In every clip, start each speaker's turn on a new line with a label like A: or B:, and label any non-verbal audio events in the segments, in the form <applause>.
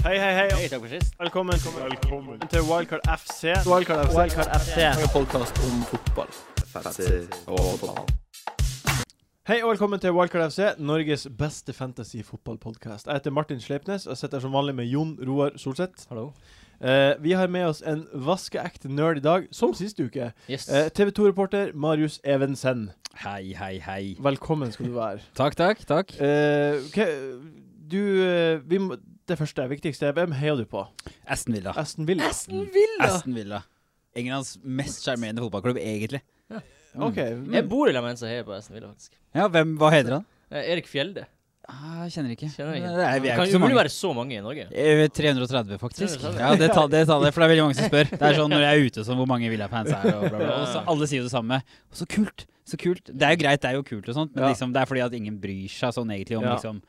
A: Hei, hei, hei.
B: takk for sist.
A: Velkommen, til Wildcard FC.
C: Wildcard FC.
A: Wildcard FC.
C: podkast om fotball.
A: Hei og velkommen til Wildcard FC, Norges beste fantasy-fotballpodkast. Jeg heter Martin Sleipnes og sitter her som vanlig med Jon Roar Solseth.
B: Hallo.
A: Eh, vi har med oss en vaskeekte nerd i dag, som sist uke. Eh,
B: Yes.
D: Eh,
A: TV 2-reporter Marius Evensen.
B: Hei, hei, hei.
A: Velkommen skal du være.
B: Takk, takk, takk.
A: Eh, ok, du eh, vi må, Det første, viktigste, hvem heier du på?
B: Aston Villa.
A: Aston Villa?
B: Aston Villa. Englands mest sjarmerende fotballklubb, egentlig. Mm.
A: OK.
D: Jeg bor i lag med en som heier på Aston Villa, faktisk.
B: Ja, hvem, Hva heter han?
D: Eh, Erik Fjelde.
B: Ah, jeg kjenner ikke.
D: Kjenner ikke.
B: Det er, vi er
D: Kan
B: ikke så
D: umulig
B: mange.
D: være så mange i Norge.
B: Eh, 330, faktisk.
D: 330.
B: Ja, det tallet, det tallet, for det er veldig mange som
D: <laughs>
B: spør. Det er sånn når jeg er ute, sånn hvor mange Villa-fans er, og bla, bla. Og så alle sier jo det samme. Og så kult! Så kult. Det er jo greit, det er jo kult og sånt, men
A: Ja.
B: liksom, det er fordi at ingen bryr seg sånn egentlig om
A: Ja.
B: liksom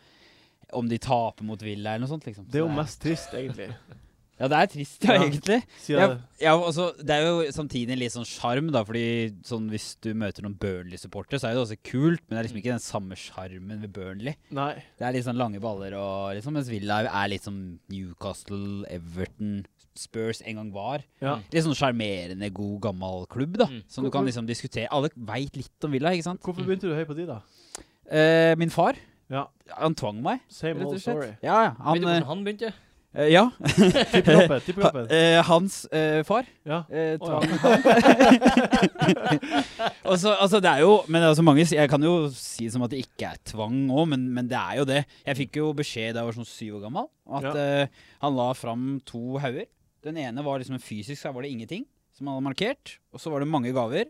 B: om de taper mot Villa eller noe sånt, liksom.
A: Det er jo
B: Så
A: mest trist, egentlig.
B: Ja, det er trist, <laughs> ja,
A: Ja.
B: egentlig.
A: Siden
B: Ja, ja, altså, det er jo samtidig litt sånn sjarm, da. Fordi sånn, hvis du møter noen Burnley-supportere, så er det også kult, men det er
A: Mm.
B: liksom ikke den samme sjarmen ved Burnley.
A: Nei.
B: Det er litt sånn lange baller, og liksom, mens Villa er litt sånn Newcastle, Everton, Spurs en gang var.
A: Ja.
B: Litt sånn sjarmerende, god, gammel klubb, da.
D: Mm.
B: Som du kan liksom diskutere. Alle veit litt om Villa, ikke sant?
A: Hvorfor begynte du høy på de, da?
B: Eh, min far,
A: Ja.
B: han tvang meg,
A: Same
B: rett og
A: old story.
B: <laughs> slett. Ja, ja.
D: Vet du
B: Han,
D: hvordan han begynte?
B: eh, ja.
A: Tippeknappen. tippeknappen.
B: Eh, hans eh, far
A: Ja.
B: Eh,
A: Å, ja. <laughs>
B: og så, altså det er jo Men det er også mange Jeg kan jo si det som at det ikke er tvang òg, men, men det er jo det. Jeg fikk jo beskjed da jeg var sånn syv år gammel, at
A: Ja.
B: eh, han la fram to hauger. Den ene var liksom en fysisk, her var det ingenting, som han hadde markert. Og så var det mange gaver.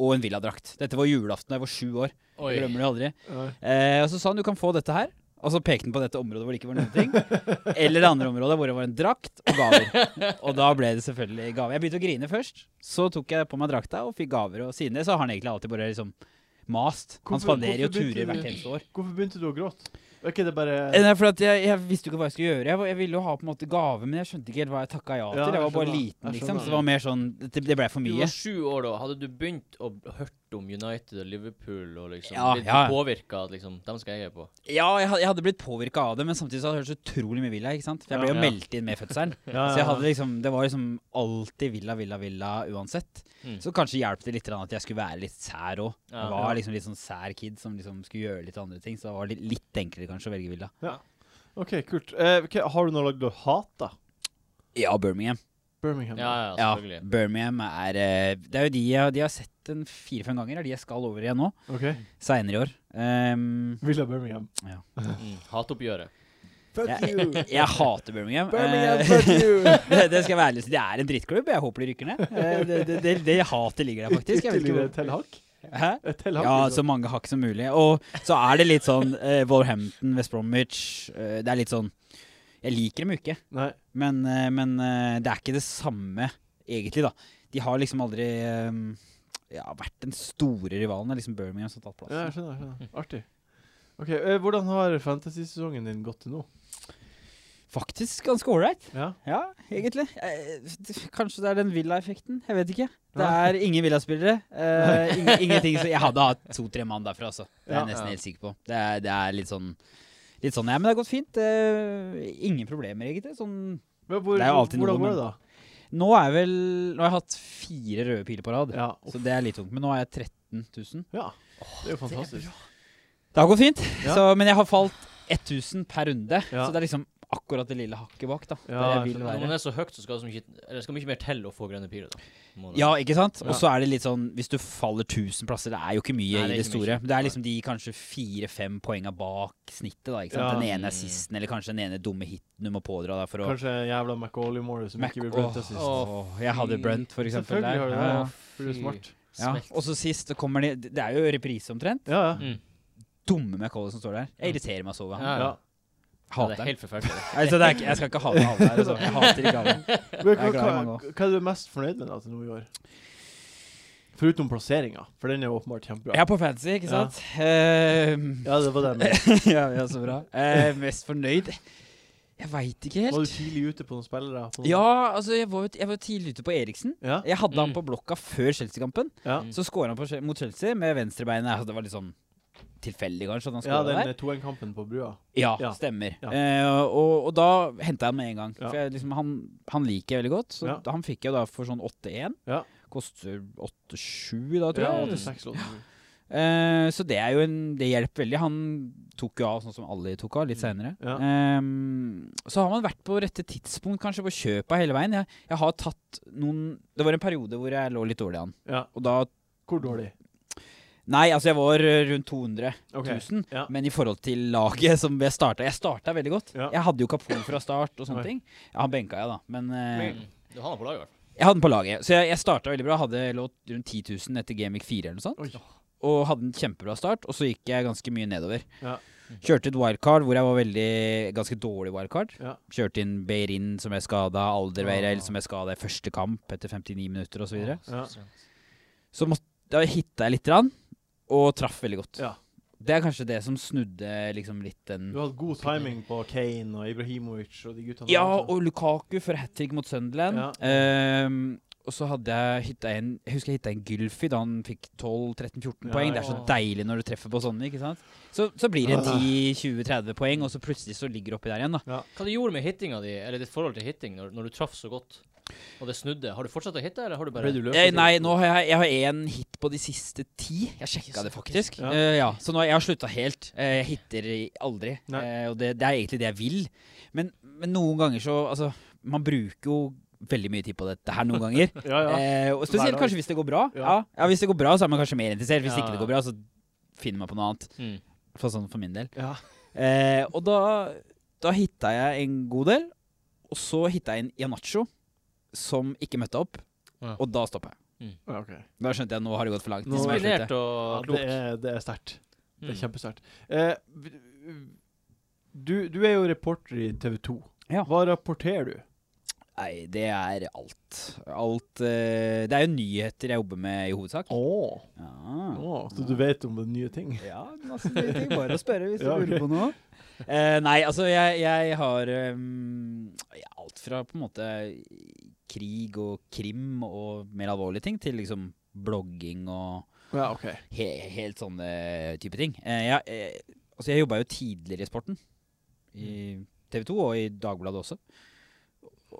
B: Og en villadrakt. Dette var julaften da jeg var sju år.
D: Oi.
B: Jeg glemmer det aldri.
A: Nei.
B: Eh, og så sa han du kan få dette her. Og så pekte han på dette området hvor det ikke var noen ting. Eller det andre området hvor det var en drakt og gaver. Og da ble det selvfølgelig gaver. Jeg begynte å grine først. Så tok jeg på meg drakta og fikk gaver. Og siden det så har han egentlig alltid bare liksom mast. Han
A: Hvorfor-
B: spanderer jo
A: hvorfor begynte
B: turer
A: du-
B: hvert eneste år.
A: Hvorfor begynte du å gråte? Er ikke det bare
B: Eh, Nei, for at jeg, jeg visste jo ikke hva jeg skulle gjøre. Jeg, var- jeg ville jo ha på en måte gave, men jeg skjønte ikke helt hva jeg takka ja til.
A: Ja,
B: jeg
A: jeg
B: var bare
A: skjønner.
B: liten,
A: Jeg
B: liksom.
A: skjønner.
B: Så det var mer sånn Det, det ble for
D: Du
B: mye.
D: var sju år da. Hadde du begynt å hørt om United og Liverpool og liksom
B: Ja,
D: blitt
B: ja.
D: påvirka at liksom Dem skal jeg heie på.
B: Ja, jeg, had- jeg hadde blitt påvirka av det, men samtidig så hadde jeg hørt så utrolig mye Villa, ikke sant. For jeg ble jo
D: Ja.
B: meldt inn med fødselen.
A: ja,
B: Så jeg
D: Ah.
B: hadde liksom, det var liksom alltid Villa, Villa, Villa uansett.
D: Mm.
B: Så kanskje hjalp det litt grann at jeg skulle være litt sær òg.
D: Ja.
B: Jeg var liksom litt sånn sær kid som liksom skulle gjøre litt andre ting. Så det var litt, litt enklere kanskje å velge Villa.
A: OK, kult. Eh, ok, har du noe lag du hater?
B: Ja, Birmingham.
A: Birmingham.
D: Ja, ja,
B: Ja,
D: selvfølgelig.
B: Birmingham er eh, Det er jo de jeg, de jeg har sett en fire-fem ganger, er de jeg skal over igjen nå.
A: OK.
B: Seinere i år. Ehm,
A: Villa Birmingham.
D: Mm. Hatoppgjøret.
A: Fuck
B: jeg,
A: you!
B: <laughs> jeg hater Birmingham.
A: Birmingham,
B: Eh,
A: fuck
B: <laughs>
A: you!
B: det, det skal jeg være ærlig og si. Det er en drittklubb. Jeg håper de rykker ned. Eh, det, det, det, det hatet ligger der,
A: <laughs>
B: faktisk. Jeg vet ikke
A: Ytterligere
B: hvor-
A: et tellhakk?
B: Hæ?
A: Et tellhakk?
B: Ja, så
A: liksom.
B: mange hakk som mulig. Og så er det litt sånn eh, Wolverhampton, West Bromwich eh, Det er litt sånn Jeg liker dem jo ikke,
A: Nei.
B: men, eh, men eh, det er ikke det samme, egentlig, da. De har liksom aldri eh, ja, vært den store rivalen. Det er liksom Birmingham som har tatt
A: Ja, jeg
B: plassen.
A: skjønner. jeg skjønner. Artig. OK, eh, hvordan har fantasy-sesongen din gått til nå?
B: Faktisk ganske ålreit.
A: Ja?
B: Ja, egentlig. Eh, kanskje det er den Villa-effekten. Jeg vet ikke. Det er ingen Villa-spillere. eh, ing- ingenting som Jeg hadde hatt to-tre mann derfra, altså. Det er jeg
A: Ja.
B: nesten helt sikker på. Det er, det er litt sånn Litt sånn, ja, Men det har gått fint. eh, ingen problemer, egentlig. Sånn
A: Men hvor,
B: Det er jo alltid
A: hvordan
B: noe,
A: går det, da?
B: Nå er vel Nå har jeg hatt fire røde piler på rad,
A: Ja.
B: så det er litt tungt. Men nå er jeg 13 000.
A: ja. Det er jo fantastisk.
B: Det har gått fint,
A: Ja.
B: så, men jeg har falt 1000 per runde.
A: Ja.
B: Så det er liksom akkurat det lille hakket bak, da.
A: Ja,
B: der
A: jeg
B: jeg vil
D: Når
B: være.
D: man er så høyt, så skal det så mye, eller det skal mye mer til å få grønne piler, da. Må det.
B: Ja, ikke sant?
A: Ja.
B: Og så er det litt sånn Hvis du faller 1000 plasser, det er jo ikke mye
D: Nei, det er
B: i det
D: ikke
B: store.
D: mye.
B: Det er liksom de kanskje fire-fem poenga bak snittet, da. Ikke sant?
A: Ja.
B: Den ene
D: Mm.
B: er sisten, eller kanskje den ene dumme hiten du må pådra deg for å
A: Kanskje jævla McAuley-målet som
B: Mac-
A: ikke blir
B: Åh,
A: brent til sist.
D: Åh,
B: åh, Jeg hadde Brunt, for eksempel.
A: Selvfølgelig
B: der.
A: har du det.
B: Ja, Mm. ja.
A: ja. For du er smart.
B: Ja.
D: Smelt.
B: Og så sist, det kommer de Det er jo reprise, omtrent.
A: Ja, ja.
D: Mm.
B: dumme McCauley som står der. Jeg irriterer meg så over
D: Ja, ja.
B: han.
A: ja.
D: Ja, det
B: Hater
D: er
B: han.
D: helt
B: <laughs>
D: forferdelig.
B: Altså, det er ikke, jeg skal ikke hate alle her. Altså. Jeg hater ikke alle.
A: Men,
B: Jeg
A: hva,
B: er glad i
A: hva,
B: mange
A: hva er du mest fornøyd med da til nå i år? Foruten plasseringa, for den er åpenbart
B: Jeg
A: kjempebra.
B: er på fancy, ikke sant? Ehm,
A: Ja, det var
B: <laughs>
A: det jeg mente.
B: ja, ja, så bra. Eh, mest fornøyd? Jeg veit ikke
A: Var du
B: helt.
A: tidlig ute på noen spillere? På noen?
B: Ja, altså, jeg var, jo- jeg var jo tidlig ute på Eriksen.
A: Ja?
B: Jeg hadde han
D: Mm.
B: på blokka før Chelsea-kampen.
A: Ja.
B: Så skåra han på, Chel- mot Chelsea med venstrebeinet. Altså, det var litt sånn tilfeldig, kanskje, at han
A: Ja,
B: skåra der.
A: den 2-1-kampen på brua.
B: Ja,
A: Ja.
B: stemmer.
A: Ja.
B: Eh, og, og da henta jeg den med en gang.
A: Ja.
B: For jeg, liksom, han, han liker jeg veldig godt. Så
A: Ja.
B: han fikk jeg da for sånn 8-1.
A: Ja.
B: Koster 8-7 da, tror
A: Ja,
B: jeg.
D: Mm.
A: 86 låter.
B: Eh, så det er jo en Det hjelper veldig. Han tok jo av sånn som alle tok av, litt seinere.
A: Mm. Ja.
B: så har man vært på rette tidspunkt kanskje på kjøpa hele veien. Jeg, jeg har tatt noen Det var en periode hvor jeg lå litt dårlig an.
A: Ja.
B: Og da
A: Hvor dårlig?
B: Nei, altså jeg var eh, rundt 200
A: Ok.
B: 1000.
A: Ja.
B: Men i forhold til laget som jeg starta Jeg starta veldig godt.
A: Ja.
B: Jeg hadde jo Kapol fra start og
A: Nei.
B: sånne ting. Ja, han benka jeg, da. Men eh,
D: Mm. Du har den på laget, i hvert fall.
B: jeg hadde den på laget. Så jeg, jeg starta veldig bra. Hadde lå rundt 10 000 etter Gamic 4 eller noe sånt.
A: Oi.
B: Og hadde en kjempebra start. Og så gikk jeg ganske mye nedover.
A: Ja.
B: Kjørte et wildcard hvor jeg var veldig ganske dårlig wildcard.
A: Ja.
B: Kjørte inn Beirin som jeg skada, Alderweirel
A: Ah.
B: som jeg skada i første kamp etter 59 minutter osv. Så, videre.
A: Ja.
B: så måtte, da hitta jeg lite grann, og traff veldig godt.
A: Ja.
B: Det er kanskje det som snudde liksom litt den
A: Du hadde god timing på Kane og Ibrahimovic og de guttene.
B: Ja,
A: der, altså.
B: og Lukaku for hat trick mot Sunderland.
A: Ja.
B: Ehm, og så hadde jeg hitta en Jeg husker jeg hitta en Gylfi da han fikk 12-13-14
A: Ja.
B: poeng. Det er så deilig når du treffer på sånne, ikke sant? Så, så blir det 10-20-30 poeng, og så plutselig så ligger du oppi der igjen, da.
D: Hva du gjorde med hittinga di, eller ditt forhold til hitting, når, når du traff så godt, og det snudde? Har du fortsatt å hitte, eller har du bare
A: Ble du altså? løpet
B: Eh,
A: til?
B: nei, nå har jeg, jeg har én hit på de siste ti. Jeg sjekka det faktisk.
A: Ja.
B: Eh, ja. Så nå jeg har slutta helt. Eh, jeg hitter i- aldri.
A: Nei.
B: Eh, og det, det er egentlig det jeg vil. Men, men noen ganger så Altså, man bruker jo veldig mye tid på dette her noen ganger.
A: Ja, ja.
B: Eh, og
A: Hver
B: spesielt
A: dag.
B: kanskje hvis det går bra.
A: Ja.
B: Ja. ja, Hvis det går bra, så er man kanskje mer interessert. Hvis
A: Ja,
B: ikke det
A: ja.
B: går bra, så finner man på noe annet.
D: Mm.
B: For sånn for min del.
A: ja.
B: Eh, og da, da hitta jeg en god del. Og så hitta jeg en Ianacho som ikke møtte opp.
D: Ja.
B: Og da stoppa jeg.
A: Ja, ok.
B: Da skjønte jeg at nå har det gått for langt.
A: Nå
B: Nå, jeg
D: Disiplinert
B: slutter.
A: Ja, det
D: og klokt.
A: er, det er sterkt. Det er
D: Mm.
A: kjempesterkt. Eh, v- du, du er jo reporter i TV 2.
B: Ja.
A: Hva rapporterer du?
B: Nei, det er alt. Alt eh, Det er jo nyheter jeg jobber med i hovedsak.
A: Å,
B: Ja.
A: så du vet om det nye ting?
B: Ja, masse nye ting. Bare å spørre hvis du
A: Ja, ok.
B: lurer på noe. Eh, nei, altså jeg, jeg har ehm, ja, alt fra på en måte krig og krim og mer alvorlige ting, til liksom blogging og
A: Ja, OK.
B: he helt sånne type ting. Eh, jeg, eh, altså jeg jobba jo tidligere i sporten. I TV 2 og i Dagbladet også.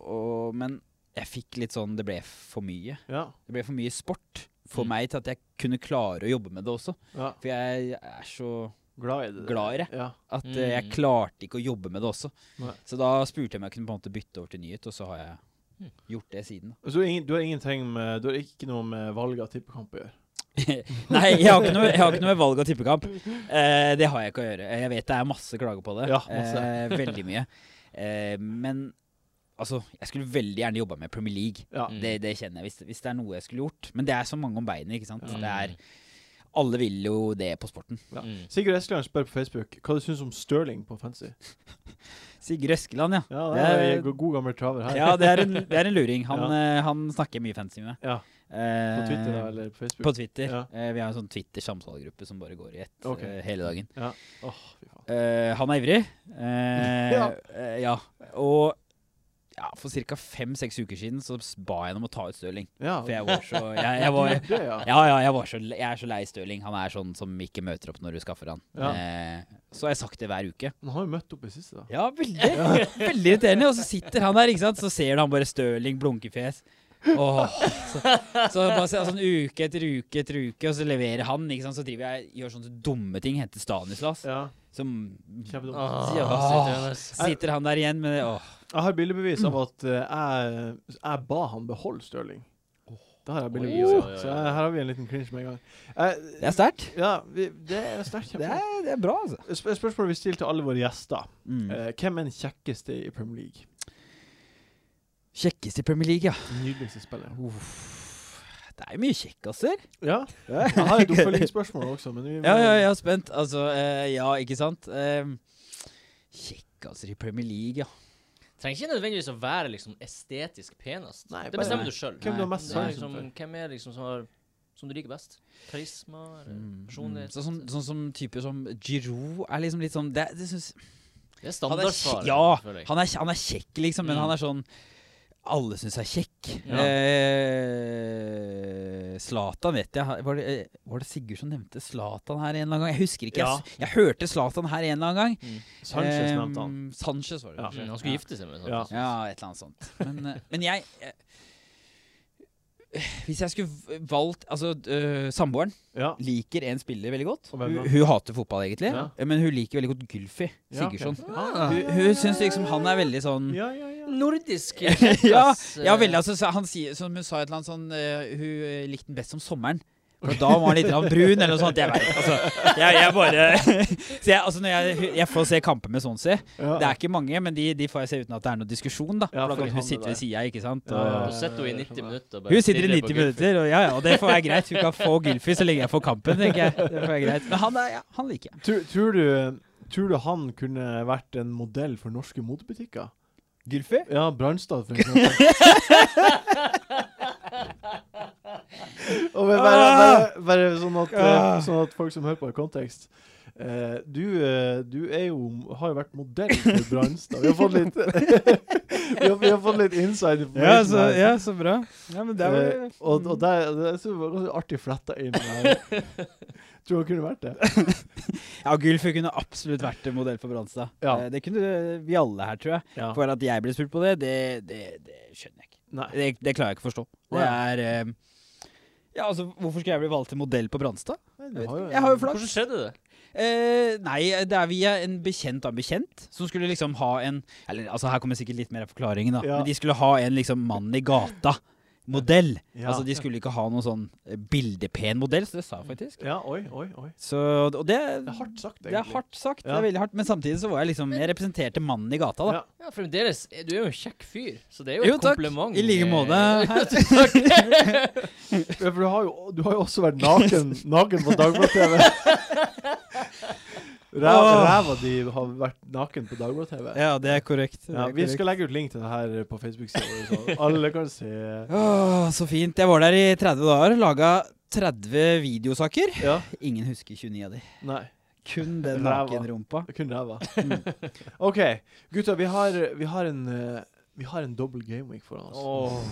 B: Og, men jeg fikk litt sånn Det ble for mye.
A: Ja.
B: Det ble for mye sport for
D: Mm.
B: meg til at jeg kunne klare å jobbe med det også.
A: ja.
B: For jeg er så
A: Glad i det.
B: Glad i det.
A: Ja.
B: at eh, jeg
D: Mm.
B: klarte ikke å jobbe med det også.
A: Nei.
B: Så da spurte jeg om jeg kunne på en måte bytte over til nyhet, og så har
D: Mm.
B: jeg gjort det siden. da.
A: Så du har ingen- du har ingenting med Du har ikke noe med valget av tippekamp å gjøre?
B: <laughs> Nei, jeg har ikke noe, jeg har ikke noe med valg av tippekamp. Eh, det har jeg ikke å gjøre. Jeg vet det er masse klager på det.
A: Ja, masse.
B: Eh,
A: <laughs>
B: veldig mye. Eh, men altså, jeg skulle veldig gjerne jobba med Premier League.
A: Ja.
D: Mm.
B: Det, det kjenner jeg, hvis, hvis det er noe jeg skulle gjort. Men det er så mange om beinet, ikke sant.
A: Ja.
B: Det er, alle vil jo det på sporten.
A: Ja.
D: Mm.
A: Sigurd Eskeland spør på Facebook hva du syns om Stirling på fancy.
B: Sigurd Øskeland, ja.
A: Ja, det
B: Det
A: er,
B: er-
A: god, god gammel traver her.
B: Ja, det er en, det er en luring. Han,
A: <laughs> Ja.
B: eh, han snakker mye fancy med meg.
A: Ja. På Twitter da,
B: Eh,
A: eller på Facebook?
B: På Twitter.
A: Ja.
B: Eh, vi har en sånn Twitter-samtalegruppe som bare går i ett
A: Ok.
B: eh, hele dagen.
A: Åh, fy faen.
B: Eh, han er ivrig. Eh,
A: <laughs> Ja.
B: eh, ja. Og ja, for ca. fem-seks uker siden så s- ba jeg ham om å ta ut Stirling.
A: Ja,
B: For jeg var
A: <laughs>
B: så Jeg, jeg var
A: det, ja.
B: ja, ja, jeg, var så, le- jeg er så lei Stirling. Han er sånn som ikke møter opp når du skaffer han.
A: Ja.
B: Eh, så har jeg sagt det hver uke.
A: Han har jo møtt opp i siste, da.
B: Ja, veldig, veldig irriterende. Og så sitter han der, ikke sant? så ser du han bare Stirling, blunkefjes. Åh, så, så bare se, sånn uke etter uke etter uke, og så leverer han. Ikke sant? Så driver jeg gjør sånne dumme ting. Henter Stanislas.
A: Ja,
B: Som
A: kjempedumt.
D: Ah,
B: Ja.
D: sitter hennes.
B: sitter han der igjen med det. Åh.
A: Jeg har bildebevis
B: Mm.
A: av at eh, jeg, jeg ba han beholde Stirling. Det har jeg bildebevis
D: Oi,
A: av.
D: oi, oi, oi.
A: Så jeg- her har vi en liten cringe med en gang. Eh,
B: Det er sterkt.
A: ja, vi, det er sterkt.
B: Det,
A: kjempe-
B: er- det er bra, altså.
A: Sp spørsmålet vi stiller til alle våre gjester.
B: Mm.
A: Eh, hvem er den kjekkeste i Premier League?
B: Kjekkeste i Premier League, ja.
A: Nydeligste spiller.
B: Uff. Det er jo mye altså. kjekkaser.
A: Ja. Jeg har et
B: <laughs>
A: oppfølgingsspørsmål også, men vi må
B: Ja, ja, jeg er spent. Altså, eh, ja, ikke sant? Um, kjekkaser i Premier League, ja.
D: Trenger ikke nødvendigvis å være liksom estetisk penest.
A: Nei,
D: det
A: bare-
D: bestemmer du sjøl.
A: Hvem du har
B: Nei,
A: mest sansen
D: Liksom,
A: for?
D: hvem er liksom som, har, som du liker best? Karisma? Eller
B: Mm.
D: personlighet?
B: Sånn, som- sånn som typer som Giroud er liksom litt sånn det, det synes,
D: Det er
B: han, er, kje-
D: standardsvaret.
B: ja,
D: føler jeg.
B: han, er, han er kjekk, liksom, men
D: Mm.
B: han er sånn alle syns er kjekk.
D: Ja.
B: Eh, Zlatan vet jeg var det, eh, var det Sigurd som nevnte Zlatan her en eller annen gang? Jeg husker ikke.
A: Ja.
B: Jeg, s- jeg hørte Zlatan her en eller annen gang.
A: Sanchez
B: Eh,
A: nevnte han.
B: Sanchez var det.
A: Ja.
B: kanskje.
D: Mm, han skulle gifte seg med sånn.
A: Ja.
B: Ja, et eller annet sånt. Men, eh, men jeg eh, Hvis jeg skulle v- valgt Altså, eh, samboeren
A: Ja.
B: liker en spiller veldig godt.
A: Og hvem
B: Hun,
A: da?
B: hun hater fotball, egentlig,
A: Ja.
B: eh, men hun liker veldig godt Gylfi
A: Ja, ok.
B: Sigurdsson.
D: Ah.
B: Hun, hun syns liksom han er veldig sånn
A: Ja, ja, ja.
D: Nordisk
B: ja,
D: kjekkass,
B: ja,
D: eh,
B: veldig. Altså, så han sier, som hun sa et eller annet sånn eh, Hun eh, likte den best om sommeren. For da var han litt grann brun, eller noe sånt. Jeg vet, altså, jeg, jeg bare <laughs> Så jeg, altså, når jeg, jeg får se kamper med Sonsi.
A: Ja.
B: Det er ikke mange, men de, de får jeg se uten at det er noe diskusjon, da.
A: Ja,
B: for
A: fordi
B: da kan
A: han
B: hun sitter
A: er der.
B: ved sida, ikke sant.
A: Ja,
B: Og,
A: ja, ja.
D: Hun sitter jo i 90 minutter. og bare
B: Hun sitter
D: stirrer
B: i
D: på
B: 90
D: Gylfi.
B: minutter, og ja ja, og det får være greit. Hun kan få Gylfi så lenge jeg får kampen, tenker jeg. Det får være greit. Men han, er, ja, han liker jeg.
A: Tror, tror, du, tror du han kunne vært en modell for norske motebutikker?
B: Gylfi?
A: Ja, Brannstad, for eksempel. <laughs> Og bare, bare, bare sånn, at, eh,
B: Ah.
A: sånn at folk som hører på, har kontekst. Eh, du, eh, du er jo har jo vært modell for Brannstad. Vi har fått litt <laughs> vi, har, vi har fått litt inside information
B: Ja så,
A: her.
B: ja, så bra. Ja, men det er
A: Eh,
B: vel
A: og, og der, det jeg synes det var ganske artig fletta inn.
B: <laughs>
A: Der. Tror han kunne vært det.
B: Ja, Gylfi kunne absolutt vært en modell for Branstad.
A: Ja.
B: Eh, Det kunne vi alle her, tror jeg. For at jeg ble spurt på det, det, det, det skjønner jeg ikke.
A: Nei.
B: Det, det klarer jeg ikke å forstå. Det er eh, Ja, altså, hvorfor skulle jeg bli valgt til modell på Branstad?
A: Nei,
B: Jeg,
A: du har jo
B: har jo
D: Hvordan
B: flaks.
D: skjedde det?
B: Eh, nei, det er via en bekjent av en bekjent, som skulle liksom ha en Eller altså, her kommer sikkert litt mer av forklaringen, da.
A: Ja.
B: Men de skulle ha en liksom mann i gata-modell.
A: Ja.
B: Altså, de skulle ikke ha noen sånn eh, bildepen modell, så det sa jeg faktisk.
A: Ja, oi, oi, oi.
B: Så, og det
A: Det er hardt sagt,
B: Det
A: egentlig.
B: er hardt sagt, det
A: Ja.
B: er veldig hardt, men samtidig så var jeg liksom Jeg representerte mannen i gata, da.
A: Ja.
D: Ja, fremdeles. eh, Du er jo en kjekk fyr, så det er jo,
B: Jo,
D: et
B: takk.
D: kompliment.
B: I like
D: eh,
B: måte.
D: ja, takk.
A: Ja, for du har, jo, du har jo også vært <laughs> naken, naken på Dagbladet-TV. Ræv,
B: Åh.
A: ræva di har vært naken på Dagbladet-TV.
B: <laughs> Ja, det er korrekt.
A: Ja, vi skal legge ut link til det her på Facebook-sida vår, så alle kan se.
B: Åh, så fint. Jeg var der i 30 dager, laga 30 videosaker.
A: Ja.
B: Ingen husker 29 av de.
A: Nei,
B: Kun den
A: Ræva.
B: nakenrumpa.
A: det er kun ræva. Mm. OK, gutta, vi har, vi har en eh, vi har en dobbel gameweek foran oss.
D: Åh.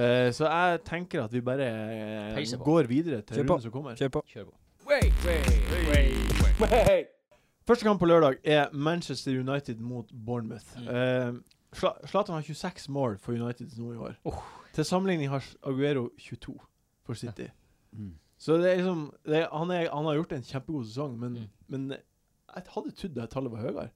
A: Eh, så jeg tenker at vi bare eh,
D: Peiser på.
A: går videre til
B: Kjør på.
A: runden som kommer.
B: Kjør på.
D: Kjør på.
A: Første kamp på lørdag er Manchester United mot Bournemouth.
D: Mm.
A: Eh, Sla- Zlatan har 26 mål for United nå i år.
B: Oh.
A: Til sammenligning har Aguero 22 for City.
B: Mm.
A: Så det er liksom det er, han, er, han har gjort en kjempegod sesong, men,
D: Mm.
A: men jeg hadde trodd det tallet var høyere.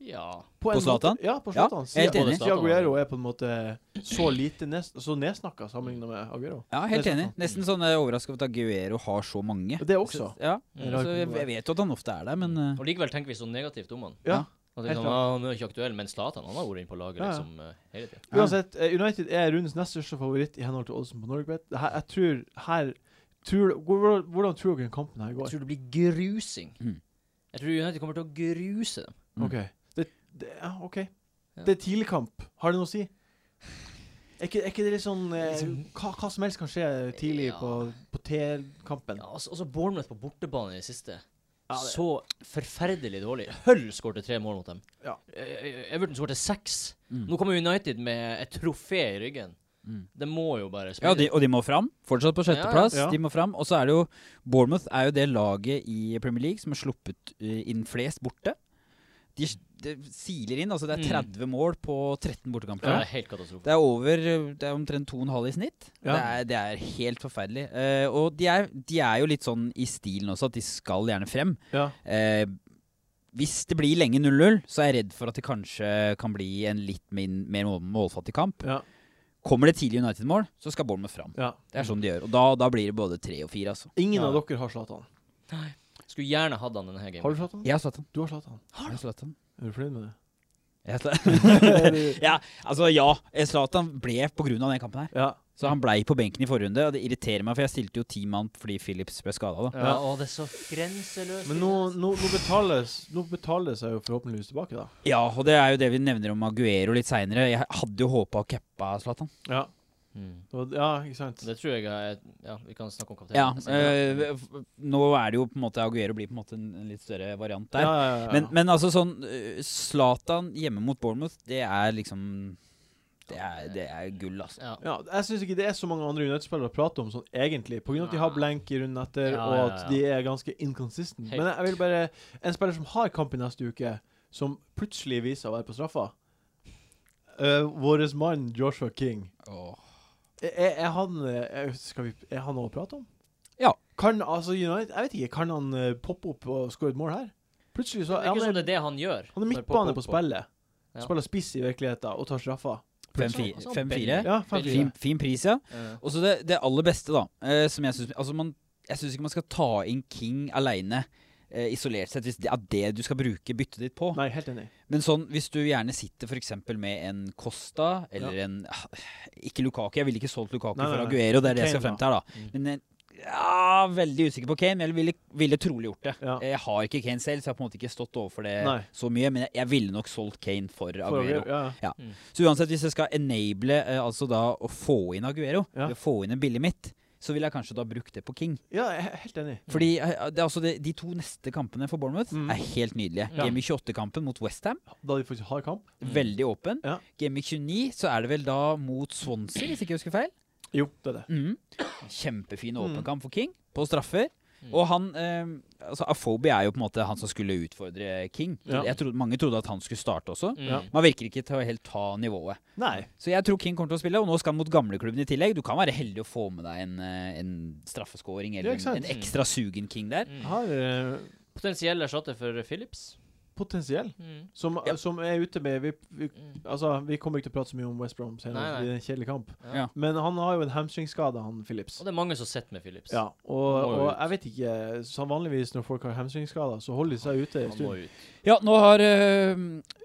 D: Ja.
B: På
A: en måte-
B: Zlatan?
A: Ja, på
B: Ja,
A: Zlatan.
B: helt
A: Siden-
B: enig.
A: siden Aguero er på en måte så lite nes, så nedsnakka sammenligna med Aguero.
B: Ja, helt
A: Det er sant,
B: enig. Nesten sånn eh, overrasket over at Aguero har så mange.
A: Det også.
B: Så- Ja.
D: Mm.
B: Altså, jeg, jeg vet jo at han ofte er der, men eh,
D: Og likevel tenker vi så negativt om han.
A: Ja.
D: At
A: Helt
D: liksom,
A: klart.
D: ah, han er jo ikke aktuell, men Zlatan han har vært inne på laget
A: Ja, ja.
D: liksom eh, hele tiden.
B: Ja.
A: Uansett, eh, United er rundens nest største favoritt i henhold til oddsen på Norgebet. Det her- Jeg tror her tror, hvor- Hvordan tror dere kampen her
D: Jeg
A: går?
D: tror det blir grusing.
B: Mm.
D: Jeg tror United kommer til å gruse dem.
B: Mm.
A: OK. Det, det, ja, ok.
D: Ja.
A: Det er tidligkamp. Har det noe å si? Er ikke, er ikke det litt sånn eh, hva, hva som helst kan skje tidlig
D: Ja.
A: på, på T-kampen?
D: Ja, altså, altså Bournemouth på bortebane i det siste.
A: Ja, det-
D: Så forferdelig dårlig. Hull skårte tre mål mot dem.
A: Ja.
D: Eh, Everton skårte seks.
B: Mm.
D: Nå kommer United med et trofé i ryggen.
B: Mm.
D: Det må jo bare spille.
B: Ja, de, og de må fram. Fortsatt på sjetteplass.
A: Ja, ja.
B: De må fram. Og så er det jo Bournemouth er jo det laget i Premier League som har sluppet eh, inn flest borte. De, s- det siler inn. Altså det er
D: Mm.
B: 30 mål på 13 bortekamper.
D: Ja, det er helt katastrofe.
B: Det er over eh, Det er omtrent 2,5 i snitt.
A: Ja.
B: Det, er, det er helt forferdelig. Eh, og de er, de er jo litt sånn i stilen også, at de skal gjerne frem.
A: Ja.
B: Eh, hvis det blir lenge 0-0, så er jeg redd for at det kanskje kan bli en litt min, mer mål- målfattig kamp.
A: Ja.
B: Kommer det tidlig United-mål, så skal Bournemouth fram.
A: ja.
B: Det er sånn de gjør. Og da, da blir det både tre og fire, altså.
A: Ingen
D: Ja.
A: av dere har Zlatan.
D: Skulle gjerne hatt han denne her
A: Har du Zlatan?
D: gamen.
B: Jeg har Zlatan.
A: Du har Zlatan.
B: Har du Zlatan?
A: Er du fornøyd <laughs> med det?
B: Jeg har Zlatan.
D: <laughs>
B: ja, <laughs> altså ja. Eh, Zlatan ble på grunn av den kampen her.
A: Ja.
B: Så han blei på benken i forrunde, og det irriterer meg, for jeg stilte jo ti mann fordi Phillips ble skada, da.
D: Ja, å, det er så grenseløst.
A: Men nå, nå, nå betales Nå betales jeg jo forhåpentligvis tilbake, da.
B: Ja, og det er jo det vi nevner om Aguero litt seinere. Jeg hadde jo håpa å cappa Zlatan.
A: Ja,
D: Mm.
A: Og- ja ikke sant?
D: Det tror jeg er Ja, vi kan snakke om kapteinen.
B: Ja,
D: Jeg ser det.
B: eh, f- nå er det jo på en måte Aguero blir på en måte en, en litt større
A: Ja,
B: variant der.
A: ja, ja, ja.
B: Men, men altså sånn eh, Zlatan hjemme mot Bournemouth, det er liksom Det er, det er gull, altså.
D: Ja.
A: Ja, jeg syns ikke det er så mange andre United-spillere å prate om sånn egentlig, pga. at de har blank i runden etter,
D: Ja,
A: og
D: ja,
A: at
D: ja.
A: de er ganske inconsistent.
D: Helt.
A: Men jeg vil bare En spiller som har kamp i neste uke, som plutselig viser seg å være på straffa Eh, Vår mann Joshua King. Er, er er han eh, skal vi, Er han noe å prate om?
B: Ja.
A: Kan altså United Jeg vet ikke, kan han eh, poppe opp og skåre et mål her? Plutselig så
D: Det er
A: han
D: ikke
A: er
D: som det er det han gjør.
A: han er
D: når
A: midtbane på
D: Popo-
A: spillet.
D: Ja.
A: Spiller spiss i virkeligheten og tar straffa.
D: Sånn,
B: 5-4.
D: sånn
B: Fem-fire.
A: Ja, fem,
D: Veldig
A: fire.
B: Fin, fin pris, ja.
D: Ja.
B: Og så det, det aller beste, da. eh, som jeg syns altså man- Jeg syns ikke man skal ta inn King aleine. eh, isolert sett, hvis det er det du skal bruke byttet ditt på.
A: Nei, helt enig.
B: Men sånn, hvis du gjerne sitter f.eks. med en Costa eller en ah, Ikke Lukaku, jeg ville ikke solgt Lukaku
A: Nei, nei,
B: for
A: nei.
B: Aguero, det er det jeg
A: Kane,
B: skal frem til her, da.
A: Mm.
B: Men en- ja, veldig usikker på Kane, men jeg ville, ville trolig gjort det.
A: Ja.
B: Jeg har ikke Kane selv, så jeg har på en måte ikke stått overfor det
A: Nei.
B: så mye. Men jeg, jeg ville nok solgt Kane for
A: For,
B: Aguero.
A: ja, ja.
B: Så uansett, hvis jeg skal enable eh, altså da å få inn Aguero,
A: Ja.
B: ved å få inn en billig mitt, så ville jeg kanskje da brukt det på King.
A: ja, jeg er helt enig.
B: Fordi eh, det er altså de, de to neste kampene for Bournemouth
A: Mm.
B: er helt nydelige.
D: Ja.
B: Game i 28-kampen mot Westham,
A: Da de faktisk har kamp?
D: Mm.
B: veldig åpen.
A: Ja.
B: Game i 29 så er det vel da mot Swansea, hvis ikke jeg husker feil.
A: Jo, det er det.
B: Mm. Kjempefin
A: Mm.
B: åpen kamp for King, på straffer.
D: Mm.
B: Og han eh, altså Afobi er jo på en måte han som skulle utfordre King.
A: Ja.
B: Jeg trodde, mange trodde at han skulle starte også.
D: Mm.
A: Ja.
B: Man virker ikke til å helt ta nivået.
A: Nei.
B: Så jeg tror King kommer til å spille, og nå skal han mot gamleklubben i tillegg. Du kan være heldig å få med deg en, eh, en straffeskåring
A: Ja,
B: eller
A: ikke sant?
B: en, en ekstra sugen King der.
D: Mm.
A: Har eh,
D: Potensiell erstatter for Philips.
A: potensiell som,
B: Ja.
A: som er ute med vi, vi,
D: Mm.
A: Altså, vi kommer ikke til å prate så mye om West Brom
D: Nei,
A: senere,
D: nei.
A: fordi det er en kjedelig kamp.
D: Ja.
B: Ja.
A: Men han har jo en hamstringskade, han Phillips.
D: Og det er mange som sitter med Philips.
A: Ja, og,
D: Han må jo
A: og
D: ut.
A: jeg vet ikke så Vanligvis når folk har hamstringskader, så holder de seg ute en
D: Han må
A: stund.
D: ut.
B: Ja, nå har eh,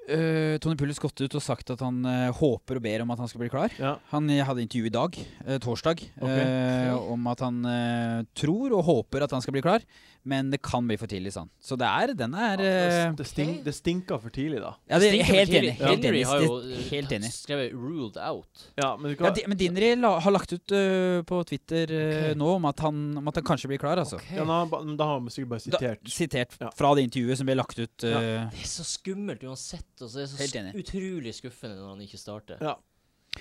B: eh, Tony Pulis gått ut og sagt at han eh, håper og ber om at han skal bli klar.
A: Ja.
B: Han eh, hadde intervju i dag, eh, torsdag,
A: Ok.
B: eh, om at han eh, tror og håper at han skal bli klar. Men det kan bli for tidlig, sa han. Så det er, den er eh,
A: Det, stink, det stinker for tidlig, da.
B: ja, det,
D: Stinker
B: Helt
D: med
B: enig.
D: Henry.
B: Helt
D: Henry
B: enig.
D: har jo
B: Det-
D: eh,
B: Helt enig.
D: skrevet 'ruled out'.
A: Ja, men du
B: Ja,
A: kan,
B: di- men Dinri la, har lagt ut eh, på Twitter eh,
D: Ok.
B: nå om at, han, om at han kanskje blir klar, altså.
A: ja, da, da har han sikkert bare
B: Da,
A: sitert.
B: sitert
A: Ja.
B: fra det intervjuet som ble lagt ut.
A: Ja.
B: eh,
D: Det er så skummelt uansett. Altså, det er så
B: Helt
D: sk-
B: enig.
D: utrolig skuffende når han ikke starter.
A: Ja.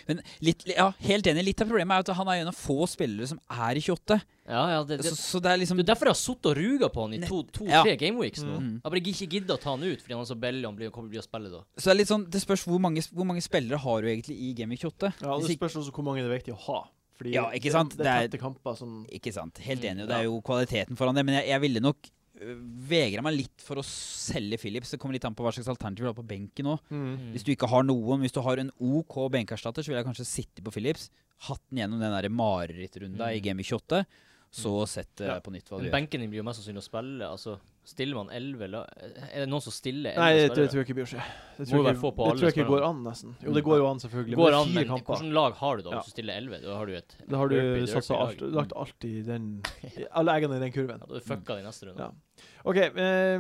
B: Men litt, li- ja, helt enig. Litt av problemet er jo at han er en av få spillere som er i 28.
D: Ja, ja, det, det,
B: Så, så det er liksom
D: det er derfor jeg har sittet og ruga på han i
B: Nett-
D: to-tre to,
B: ja.
D: tre gameweeks nå.
B: Mm.
D: Jeg bare ikke gidder å ta han ut fordi han er så billig og han blir, kommer til å bli å spille da.
B: Så det er litt sånn Det spørs hvor mange, hvor mange spillere har du egentlig i Game Week 28.
A: Ja, og
B: Hvis
A: Det
B: ikke,
A: spørs også hvor mange det er viktig å ha. Fordi
B: Ja, ikke sant?
A: Det, det er
B: Det er-
A: tette kamper som
B: ikke sant. Helt
D: Mm,
B: enig. Og det er jo kvaliteten foran det. Men jeg, jeg ville nok øh, vegra meg litt for å selge Philips. Det kommer litt an på hva slags alternativ du har på benken nå.
A: mm.
B: Hvis du ikke har noen, hvis du har en OK benkerstatter, så vil jeg kanskje sitte på Philips. Hatt den gjennom den der marerittrunden i
D: Mm.
B: Game Week 28. Så sett eh,
A: Mm. Ja.
B: på nytt hva du
D: Men
B: gjør.
D: benken din blir jo mest sannsynlig å spille. Altså, stiller man 11 la- Er det noen som stiller 11
A: Nei, det, det
D: spillere?
A: tror jeg ikke blir å skje. Det
D: Må
A: tror
D: jo
A: jeg
D: være få
A: ikke,
D: på
A: det tror
D: alle
A: jeg ikke
D: spillerne. Mm.
A: går an, nesten. Jo, det går jo an, selvfølgelig.
D: Går
A: men
D: an,
A: fire
D: men
A: kamper.
D: hvilket lag har du da
A: Ja.
D: hvis du stiller 11? Da har du et
A: Da har du
D: derpy-
A: satsa
D: derpy-lag.
A: alt, lagt alt i den i Alle eggene i den kurven.
D: <laughs> Ja, da har du fucka det i neste runde.
A: Ja. OK. Eh,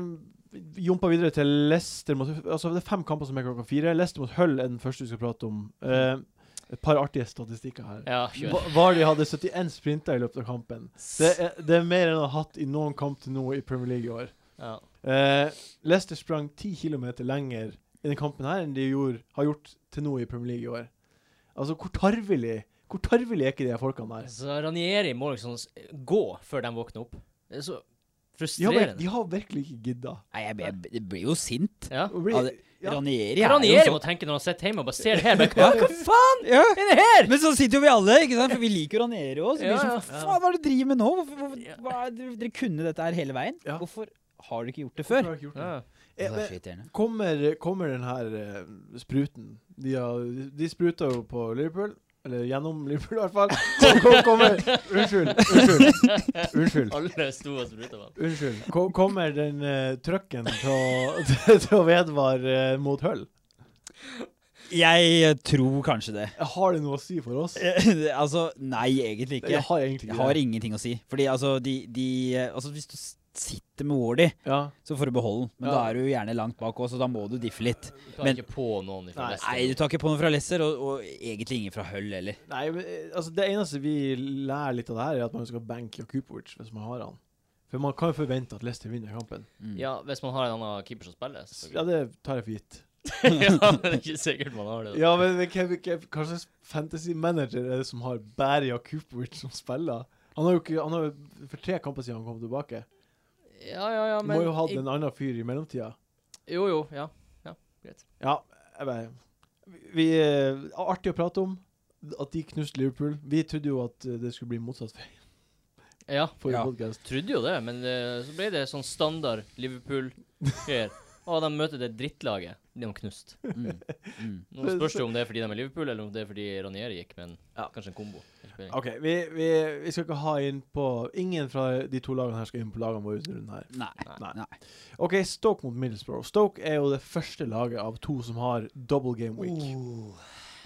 A: Jumpa videre til Leicester mot Altså, det er fem kamper som er klokka fire. Leicester mot Hull er den første vi skal prate om. Eh, et par artige statistikker her.
D: Ja, kjør.
A: Va- Vardy hadde 71 sprinter i løpet av kampen. Det er, det er mer enn han har hatt i noen kamp til nå i Premier League i år.
D: Ja.
A: Eh, Leicester sprang 10 km lenger i denne kampen her enn de gjorde, har gjort til nå i Premier League i år. Altså, hvor tarvelig Hvor tarvelig er ikke de her folkene der?
D: Så Ranieri må liksom s- gå før de våkner opp. Det er så
A: De har, vir-
D: frustrerende.
A: de har virkelig ikke gidda.
B: Nei, jeg, jeg, jeg blir jo sint.
D: Ja.
A: Og blir-
B: Ja, det-
A: Ja.
B: Ranieri
D: Hva
B: er jo
D: Ranieri
B: sånn
D: må tenke når han sitter hjemme og bare ser det her. <laughs> Bare,
B: Ja,
D: hva
B: hva faen? Ja.
D: er det her?!
B: Men så sitter jo vi alle, ikke sant? for vi liker jo Ranieri òg. Så blir det
D: Ja,
B: sånn,
A: ja.
B: faen, hva er det du driver med nå? Hvorfor, hvorfor, hva er det, dere kunne dette her hele veien.
A: Ja.
B: Hvorfor har dere ikke gjort det
A: Hvorfor
B: før?
A: har jeg ikke gjort det?
D: Ja.
A: Eh,
B: Det er så
A: men
B: irriterende.
A: Kommer, kommer den her eh, spruten De, har, de spruta jo på Liverpool. Eller gjennom Liverpool, i hvert
B: <laughs>
A: fall. Så kom- Kommer, unnskyld. Unnskyld. Unnskyld.
D: Alle sto og spruta på han.
A: unnskyld. Ko- Kommer den uh, trøkken til å- <laughs> til å vedvare eh, mot Hull?
B: Jeg eh, tror kanskje <laughs> det.
A: Har det noe å si for oss?
B: <laughs> altså, nei, egentlig
A: Jeg
B: ikke.
A: har egentlig
B: Jeg
A: ikke
B: har
A: det.
B: ingenting å si. Fordi altså, de, de eh, Altså, hvis du s- sitter med Wardy,
A: Ja.
B: så får du beholde den. Men
A: Ja.
B: da er du jo gjerne langt bak òg, så da må du diffe litt.
D: Du tar
B: Men-
D: ikke på noen ifra
A: Nei.
D: neste
B: Nei, du
D: runde.
B: tar ikke på noe fra Lesser, og, og egentlig ingen fra Hull heller.
A: Nei, men, eh, altså, det eneste vi lærer litt av det her, er at man skal banke Jakupovic hvis man har han. For man kan jo forvente at Leicester vinner kampen.
B: Mm.
D: Ja, hvis man har en annen keeper som spiller.
A: Ja,
D: selvfølgelig.
A: det tar jeg for gitt.
D: ja, men det er ikke sikkert man har det. da.
A: Ja, men hvem- hvem- hva slags fantasy manager er det som har Bæria Cooperwich som spiller? Han har jo ikke han har jo For tre kamper siden han kom tilbake.
D: Ja, ja, ja,
A: Du
D: men
A: må jo ha hatt
D: i-
A: en annen fyr i mellomtida.
D: Jo, jo, ja.
A: Ja, jeg bare vi, eh, Artig å prate om at de knuste Liverpool. Vi trodde jo at eh, det skulle bli motsatt vei
D: Ja,
A: forrige
B: Ja.
A: podcast.
D: trodde jo det, men eh, så ble det sånn standard Liverpool-greier. Å, de møter det drittlaget. De har knust.
B: <laughs> Mm. Mm.
D: Nå spørs det om det er fordi de er Liverpool, eller om det er fordi Ranieri gikk, men
A: Ja.
D: kanskje en kombo. Ja.
A: OK, vi, vi, vi skal ikke ha inn på Ingen fra de to lagene her skal inn på lagene våre denne runden her.
B: Nei.
A: OK, Stoke mot Middlesbrough. Stoke er jo det første laget av to som har double game
B: Oh,
A: week.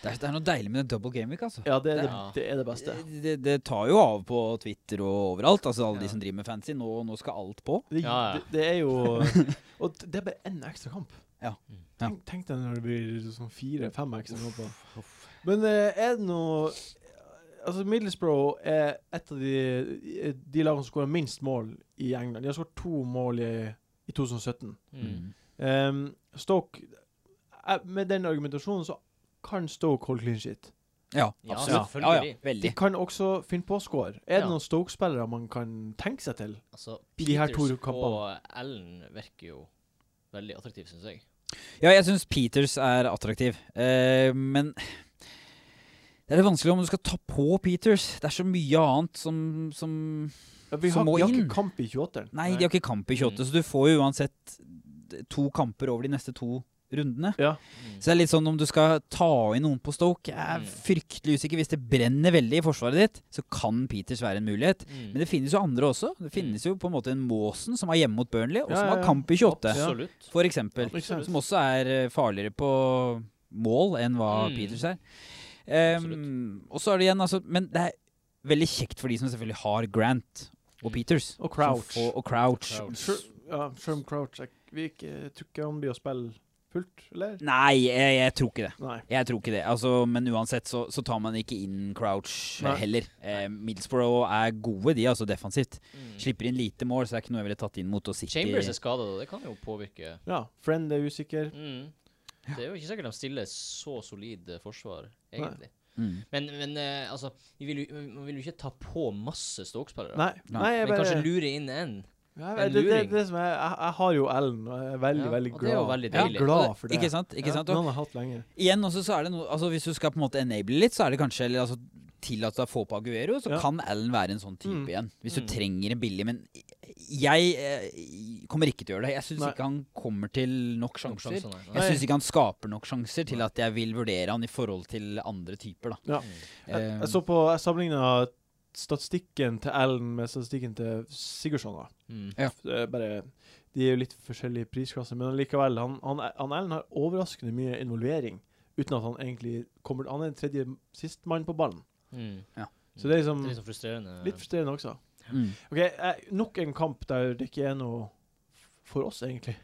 B: Det, er, det er noe deilig med den double game week, altså.
A: Ja, det er det,
D: Ja.
A: det, er det beste.
B: Det, det, det tar jo av på Twitter og overalt. Altså Alle
D: Ja.
B: de som driver med fancy. Nå, nå skal alt på.
A: Det,
D: Ja, ja.
A: det, det er jo Og det er bare én ekstra kamp.
B: Ja. Ja.
A: Tenk, tenk deg når det blir sånn fire-fem ekstra kamper. Men eh, er det noe Altså Middlesbrough er et av de, de lagene som skårer minst mål i England. De har skåret to mål i, i 2017.
D: Mm.
A: Ehm, Stoke eh, Med den argumentasjonen så kan Stoke holde clean shit.
B: Ja,
D: Ja,
B: absolutt. Ja, ja,
D: selvfølgelig.
A: De
B: veldig.
A: kan også finne på å score. Er
D: Ja.
A: det noen Stoke-spillere man kan tenke seg til?
D: Altså,
A: De her
D: Peters
A: to
D: og
A: kampene.
D: Allen virker jo veldig attraktive, syns jeg.
B: Ja, jeg syns Peters er attraktiv, eh, men det er litt vanskelig om du skal ta på Peters. Det er så mye annet som, som
A: Ja, vi
B: Som
A: har,
B: må
A: vi har
B: inn.
A: ikke kamp i 28-eren.
B: Nei, de har ikke kamp i 28,
D: Mm.
B: så du får jo uansett to kamper over de neste to rundene.
A: Ja.
D: Mm.
B: Så det er litt sånn om du skal ta inn noen på Stoke Jeg er
D: Mm.
B: fryktelig usikker. Hvis det brenner veldig i forsvaret ditt, så kan Peters være en mulighet.
D: Mm.
B: Men det finnes jo andre også. Det finnes jo på en måte en Maasen som er hjemme mot Burnley, og
A: Ja,
B: som
A: ja,
B: har
A: ja.
B: kamp i 28,
D: Absolutt.
B: for eksempel.
A: Absolutt.
B: Som også er eh, farligere på mål enn hva
D: Mm.
B: Peters er. Ehm, og så er det igjen, altså Men det er veldig kjekt for de som selvfølgelig har Grant og Peters.
A: Og Crouch.
B: Som får- og Crouch.
D: Crouch.
A: Sher- Ja, Sherm Crouch jeg, vi ikke, jeg tror ikke han blir å spille fullt, eller?
B: Nei, jeg, jeg tror ikke det.
A: Nei.
B: Jeg tror ikke det. Altså, men uansett så, så tar man ikke inn Crouch eh,
A: Nei.
B: heller. Eh, Middlesbrough er gode, de, altså defensivt.
D: Mm.
B: Slipper inn lite mål, så det er ikke noe jeg ville tatt inn mot å sitte
D: Chambers er skada, da. Det kan jo påvirke
A: Ja, Friend er usikker.
D: mm. Det er jo ikke sikkert de stiller så solid eh, forsvar, egentlig.
B: Mm.
D: Men, men eh, altså, vi vil, jo- man vil jo ikke ta på masse Stoke-spillere.
A: Nei,
B: Nei.
A: nei jeg
D: Men
A: bare
D: kanskje lure inn en.
A: ja,
D: en
A: det, det, det,
D: luring.
A: som er, jeg, jeg har jo Ellen, og jeg er veldig,
D: Ja,
A: veldig
D: og
A: glad.
D: det er jo veldig
A: Jeg
D: deilig.
A: er glad for det.
B: Ikke sant? Ikke sant?
A: Ja,
B: Og
A: noen har hatt lenge.
B: igjen også så er det noe Altså Hvis du skal på en måte enable litt, så er det kanskje Eller altså tillate deg å få på Aguero, så
A: Ja.
B: kan Allen være en sånn type
A: Mm.
B: igjen. Hvis du
D: Mm.
B: trenger en billig Men jeg eh, kommer ikke til å gjøre det. Jeg syns
A: Nei.
B: ikke han kommer til nok
D: Noen
B: sjanser.
D: sjanser, nei.
B: Jeg
A: Nei.
B: syns ikke han skaper nok sjanser til at jeg vil vurdere han i forhold til andre typer, da.
A: Ja.
D: Mm.
B: Eh,
A: Jeg, jeg
B: altså,
A: så på, jeg sammenligna statistikken til Ellen med statistikken til Sigurdsson. da.
D: Mm.
A: Det er Bare, de er jo litt forskjellige prisklasser, men likevel. Han, han, han Ellen har overraskende mye involvering, uten at han egentlig kommer Han er den tredje sistemann på ballen.
D: Mm.
A: Så det er liksom
D: Det er litt sånn frustrerende.
A: litt frustrerende også.
B: Mm.
A: Ok, eh, Nok en kamp der det ikke er noe for oss, egentlig.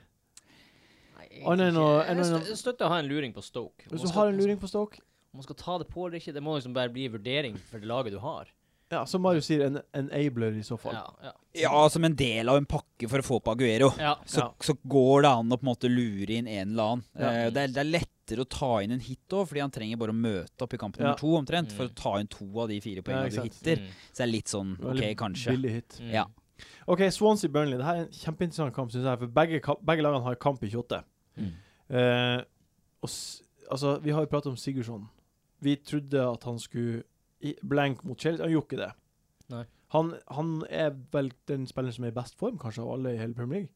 D: Nei,
A: Annet enn
D: egentlig
A: å-
D: ikke.
A: enn å-
D: Jeg stø- jeg støtter å ha en luring på Stoke.
A: Hvis
D: Om man
A: du
D: skal-
A: har en luring på Stoke
D: Om man skal ta det på eller ikke, det må liksom bare bli vurdering for det laget du har.
A: Ja, som Marius sier, en enabler i så fall.
D: Ja, ja.
B: ja, som en del av en pakke for å få på Aguero.
D: ja.
B: så,
A: Ja.
B: så går det an å på en måte lure inn en eller annen.
A: Ja.
B: Eh, det, er, det er lettere å ta inn en hit òg, fordi han trenger bare å møte opp i kamp nummer
A: Ja.
B: to omtrent, for
D: Mm.
B: å ta inn to av de fire
A: Ja,
B: poengene
A: ikke
B: du
A: sant.
B: hitter.
D: Mm.
B: Så det er litt sånn OK,
A: Veldig
B: kanskje.
A: Billig hit.
D: Mm.
B: Ja.
A: OK, Swansea-Burnley. Det her er en kjempeinteressant kamp, syns jeg. For begge, ka- begge lagene har kamp i 28.
D: Mm.
A: Eh, og s altså, vi har jo pratet om Sigurdsson. Vi trodde at han skulle i blank mot Chelsea. Han gjorde ikke det.
D: Nei.
A: Han, han er vel den spilleren som er i best form, kanskje, av alle i hele Premier League.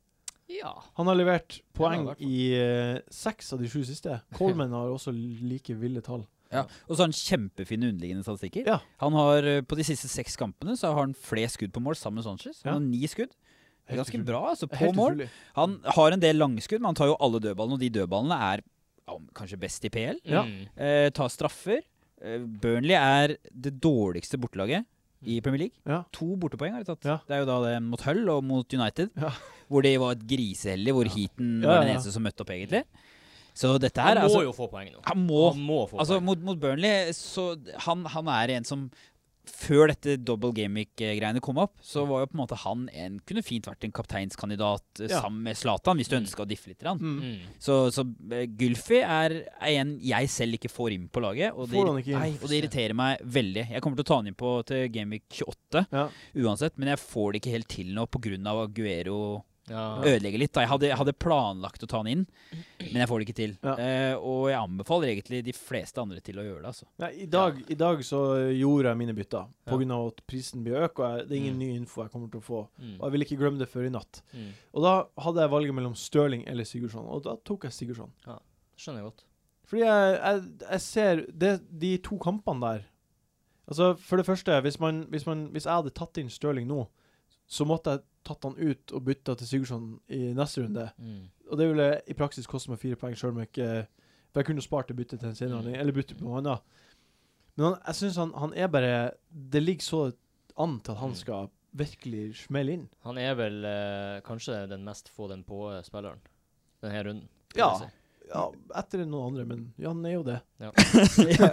D: ja.
A: Han har levert poeng
D: Ja, i hvert fall.
A: i eh, seks av de sju siste. Coleman har også like ville tall.
B: Ja. Og så har han kjempefine underliggende statistikker.
A: Ja.
B: Han har, eh, på de siste seks kampene så har han flest skudd på mål sammen med Sanchez. Han
A: Ja.
B: har ni skudd. Det er
A: Helt
B: Ganske
A: utrolig.
B: bra, altså. På
A: Helt
B: mål.
A: utrolig.
B: Han har en del langskudd, men han tar jo alle dødballene, og de dødballene er ja, kanskje best i PL.
A: Ja.
D: Mm.
B: Eh, tar straffer. Eh, Burnley er det dårligste bortelaget i Premier League.
A: Ja.
B: To bortepoeng har de tatt.
A: Ja.
B: Det er jo da det mot Hull og mot United,
A: Ja.
B: hvor det var et griseheldig, hvor Heaton
A: Ja,
B: var
A: ja,
B: den
A: ja.
B: eneste som møtte opp, egentlig. Så dette
D: Han
B: her
D: må
B: altså,
D: jo få poeng nå.
B: Han må.
D: Han må få
B: Altså,
D: poeng.
B: mot, mot Burnley så han, han er en som før dette double gamic-greiene kom opp, så var jo på en måte han en Kunne fint vært en kapteinskandidat eh,
A: Ja.
B: sammen med Zlatan, hvis du
D: Mm.
B: ønska å diffe litt. Grann.
A: Mm.
D: Mm.
B: Så, så eh, Gylfi er, er en jeg selv ikke får inn på laget. Og det,
A: Får han ikke inn?
B: Nei, og det irriterer meg veldig. Jeg kommer til å ta han inn på til Gamevik 28
A: Ja.
B: uansett, men jeg får det ikke helt til nå pga. Aguero
D: Ja.
B: ødelegger litt. Da. Jeg hadde, jeg hadde planlagt å ta han inn, men jeg får det ikke til.
A: Ja.
B: Eh, og jeg anbefaler egentlig de fleste andre til å gjøre
A: <laughs>
B: det. Altså.
A: Nei, i, dag, I dag så eh, gjorde jeg mine bytter,
D: Ja.
A: På grunn av at prisen blir økt, og jeg, det er ingen
D: Mm.
A: ny info jeg kommer til å få.
D: Mm.
A: Og jeg vil ikke glemme det før i natt.
D: Mm.
A: Og da hadde jeg valget mellom Stirling eller Sigurdsson, og da tok jeg Sigurdsson.
D: Skjønner jeg godt.
A: Fordi jeg, jeg, jeg ser det, de to kampene der Altså, for det første, hvis, man, hvis, man, hvis jeg hadde tatt inn Stirling nå, så måtte jeg tatt han ut og bytta til Sigurdsson i neste runde.
D: Mm.
A: Og det ville i praksis koste meg fire poeng, sjøl om jeg ikke For jeg kunne spart det byttet til en senere
D: Mm.
A: anledning, eller bytte på noe annet. Men han, jeg syns han, han er bare Det ligger så an til at han
D: Mm.
A: skal virkelig smelle inn.
D: Han er vel eh, kanskje den mest få den eh, på-spilleren denne runden. vil
A: Ja.
D: jeg si.
A: Ja, etter noen andre, men ja, han er jo det.
B: <laughs> ja,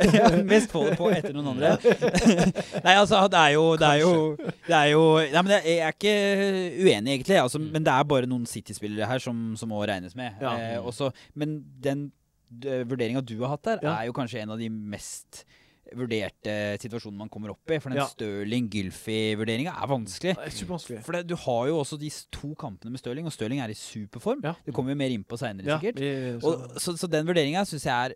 B: ja, mest få det på etter noen andre. <laughs>
A: <laughs>
B: nei, altså, det er jo Det er jo, det er jo Nei, men jeg er ikke uenig, egentlig. Altså,
D: Mm.
B: men det er bare noen City-spillere her som, som må regnes med.
A: Ja. Mm.
B: Eh, også, men den vurderinga du har hatt der,
A: Ja.
B: er jo kanskje en av de mest vurderte situasjonene man kommer opp i. For den
A: Ja.
B: Stirling-Gylfi-vurderinga er vanskelig.
A: Det er supervanskelig.
B: For det, du har jo også de to kampene med Stirling, og Stirling er i superform.
A: Ja.
B: Det kommer vi mer inn på seinere,
A: Ja,
B: sikkert.
A: vi- så-
B: Og, så, så den vurderinga syns jeg er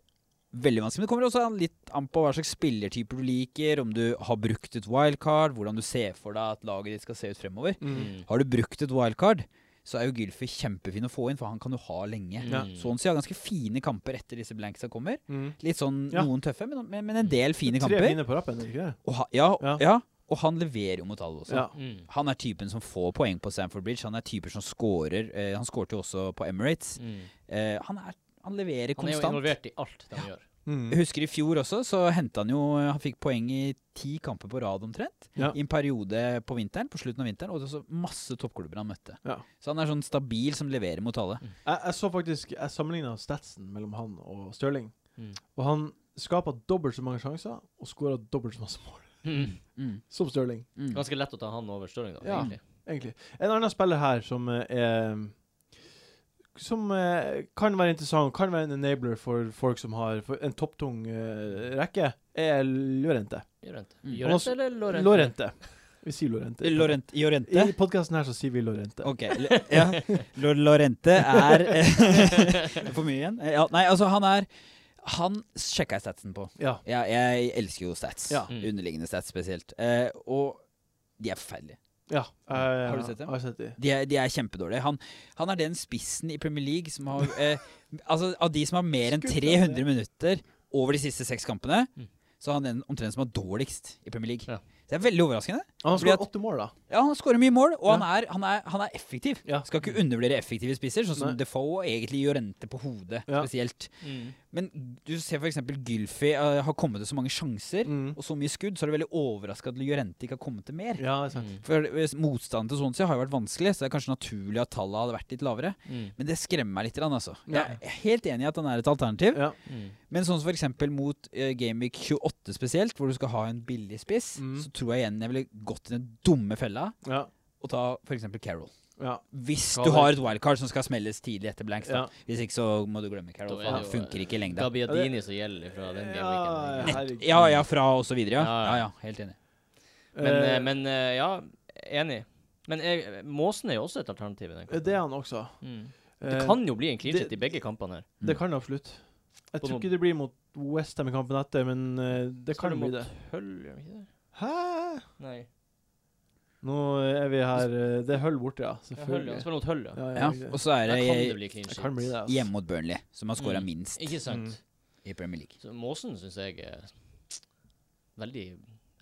B: veldig vanskelig. Men det kommer også an- litt an på hva slags spillertyper du liker, om du har brukt et wildcard, hvordan du ser for deg at laget ditt skal se ut fremover.
A: mm.
D: Mm.
B: Har du brukt et wildcard, så er jo Gylfi kjempefin å få inn, for han kan du ha lenge.
D: Mm.
A: Ja.
B: Så han sier ganske fine kamper etter disse blanksa kommer.
A: Mm.
B: Litt sånn
A: Ja.
B: noen tøffe, men, men, men en del fine
A: Tre
B: kamper.
A: pinner på rappen, er det ikke det?
B: Og, ha, ja,
A: Ja.
B: ja. og han leverer jo mot alle også.
A: Ja.
D: Mm.
B: Han er typen som får poeng på Stamford Bridge. Han er typer som scorer. Eh, han skåret jo også på Emirates.
D: Mm.
B: Eh, han, er, han leverer
D: Han er jo
B: konstant.
D: involvert i alt de gjør.
A: Mm.
B: Jeg husker i fjor også, så hentet han jo Han fikk poeng i ti kamper på rad omtrent.
A: Ja.
B: I en periode på vinteren, på slutten av vinteren, og det var også masse toppklubber han møtte.
A: Ja.
B: Så han er sånn stabil som leverer mot alle.
A: Jeg, jeg så faktisk Jeg sammenligna statsen mellom han og Stirling.
D: Mm.
A: Og han skapa dobbelt så mange sjanser og skåra dobbelt så masse mål
B: Mm.
A: som Stirling,
B: Mm.
D: Ganske lett å ta han over Stirling, da,
A: Ja.
D: egentlig.
A: egentlig. En annen spiller her som eh, er Som eh, kan være interessant, kan være en enabler for folk som har for en topptung eh, rekke, er Llorente.
D: Llorente.
B: Mm.
A: Han
D: Llorente
A: også-
D: eller Lorente?
A: Lorente. Vi sier Lorente.
B: Lorent, Llorente?
A: I podkasten her så sier vi Lorente.
B: Ok. L- Ja. Lo- Lorente er
A: <laughs>
B: For mye igjen? Ja, nei, altså, han er Han sjekka jeg statsen på.
A: Ja.
B: Ja, jeg elsker jo stats.
A: Ja.
D: Mm.
B: Underliggende stats spesielt. Eh, og de er forferdelige.
A: ja. eh,
B: Har du sett dem?
A: Har jeg sett dem.
B: De er, de er kjempedårlige. Han, han er den spissen i Premier League som har eh, Altså, av de som har mer enn
A: Skuffende.
B: 300 minutter over de siste seks kampene,
D: Mm.
B: så er han den omtrent som er dårligst i Premier League.
D: Ja.
B: Det er veldig overraskende.
A: Han har
B: Fordi
A: skåret åtte mål, da.
B: Ja, han skårer mye mål, og
A: Ja.
B: han, er, han, er, han er effektiv.
A: Ja.
B: Skal
D: Mm.
B: ikke undervurdere effektive spisser, sånn som
A: Nei.
B: Defoe og egentlig Jorente på hodet
A: Ja.
B: spesielt.
D: Mm.
B: Men du ser f.eks. Gylfi eh, har kommet til så mange sjanser
A: Mm.
B: og så mye skudd, så er du veldig overraska at Jorente ikke har kommet til mer.
A: Ja, det er sant.
D: Mm.
B: For eh, motstanden til Swansea har jo vært vanskelig, så det er kanskje naturlig at tallet hadde vært litt lavere.
D: Mm.
B: Men det skremmer meg litt. grann, Altså.
A: Ja.
B: Jeg er helt enig i at han er et alternativ.
A: Ja.
D: Mm.
B: Men sånn som f.eks. mot uh, Gameweek 28 spesielt, hvor du skal ha en billig spiss,
A: Mm.
B: så tror jeg igjen jeg ville gått i den dumme fella
A: Ja.
B: og ta f.eks. Carol.
A: Ja.
B: Hvis
D: Carroll.
B: du har et wildcard som skal smelles tidlig etter blanks.
A: ja.
B: Da. Hvis ikke så må du glemme
D: Da
B: Carol,
D: er
B: for han
D: det jo,
B: funker ikke i lengda.
D: Gabbiadini som gjelder fra
A: Ja,
D: den gameweeken.
A: herregud.
B: Ja, ja, fra og så videre, ja.
D: Ja, ja.
B: Ja, ja, helt enig.
D: Men, eh,
A: Eh,
D: men eh, ja, enig. Men jeg, Måsen er jo også et alternativ i den kampen.
A: eh, Det er han også.
D: Mm.
A: Eh,
D: Det kan jo bli en clean
A: det-
D: shit i begge kampene her.
A: det kan det absolutt. Jeg
D: På
A: tror
D: noen-
A: ikke det blir mot Westham i kampen etter, men eh, det
D: Skal
A: kan
D: du
A: bli
D: mot
A: det.
D: Hull, gjør vi ikke det?
A: Hæ?
D: Nei.
A: Nå er vi her eh, Det er Hull borte, ja.
D: Ja, Hull, ja.
A: Selvfølgelig.
D: Han spiller mot Hull, ja.
A: Ja,
B: Ja,
A: ja, det-
B: og så er
D: Der
B: det
D: kan det bli clean
A: det
D: shit.
A: kan bli det. Altså.
B: hjemme mot Burnley, som har skåra
D: Mm.
B: minst
D: Ikke sant?
A: Mm.
B: i Premier League.
D: Så Måsen syns jeg er veldig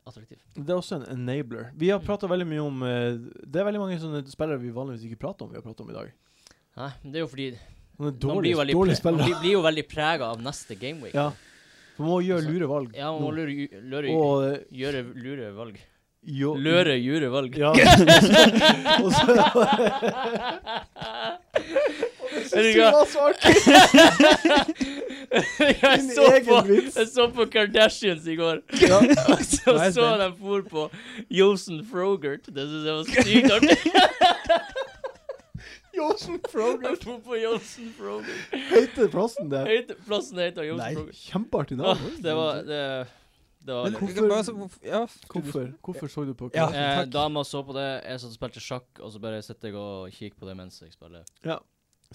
D: attraktiv.
A: Det er også en enabler. Vi har
D: Mm.
A: prata veldig mye om eh, Det er veldig mange sånne spillere vi vanligvis ikke prater om, vi har pratet om i dag.
D: Nei, men det er jo fordi
A: Sånne
D: man blir, jo
A: dårlige,
D: veldig
A: dårlige
D: pre-
A: spillere.
D: man blir, blir jo veldig prega av neste gameweek.
A: Ja. For man må gjøre
D: Altså,
A: lure valg.
D: Ja, man må
A: nå.
D: lure, ju- lure,
A: Og eh,
D: gjøre lure valg.
A: jo,
D: Løre jure <laughs>
A: <laughs>
D: valg. <laughs>
A: Ja. og så, og så, Jeg syns du var så artig!
D: <laughs> jeg,
A: Din
D: så
A: egen
D: på,
A: vits.
D: jeg så på Kardashians i går.
A: Ja.
D: <laughs> Og så
B: Nei,
D: så de for på Yosen Frogert. Det syns jeg var sykt artig.
A: Johnson Froger.
D: De for på Yosen Frogert.
A: Heter plassen det?
D: Høyt- Plassen heter Yosen
A: Nei,
D: Frogert.
A: kjempeartig
D: Åh,
A: navn.
D: det var Det, det var
B: Men
D: litt-
A: hvorfor-
B: hvorfor, ja,
D: <laughs>
A: Hvorfor? Hvorfor så du på
B: Ja.
A: Kardashian?
D: Eh,
B: takk.
D: dama så på det, jeg satt og spilte sjakk, og så bare sitter jeg og kikker på det mens jeg spiller.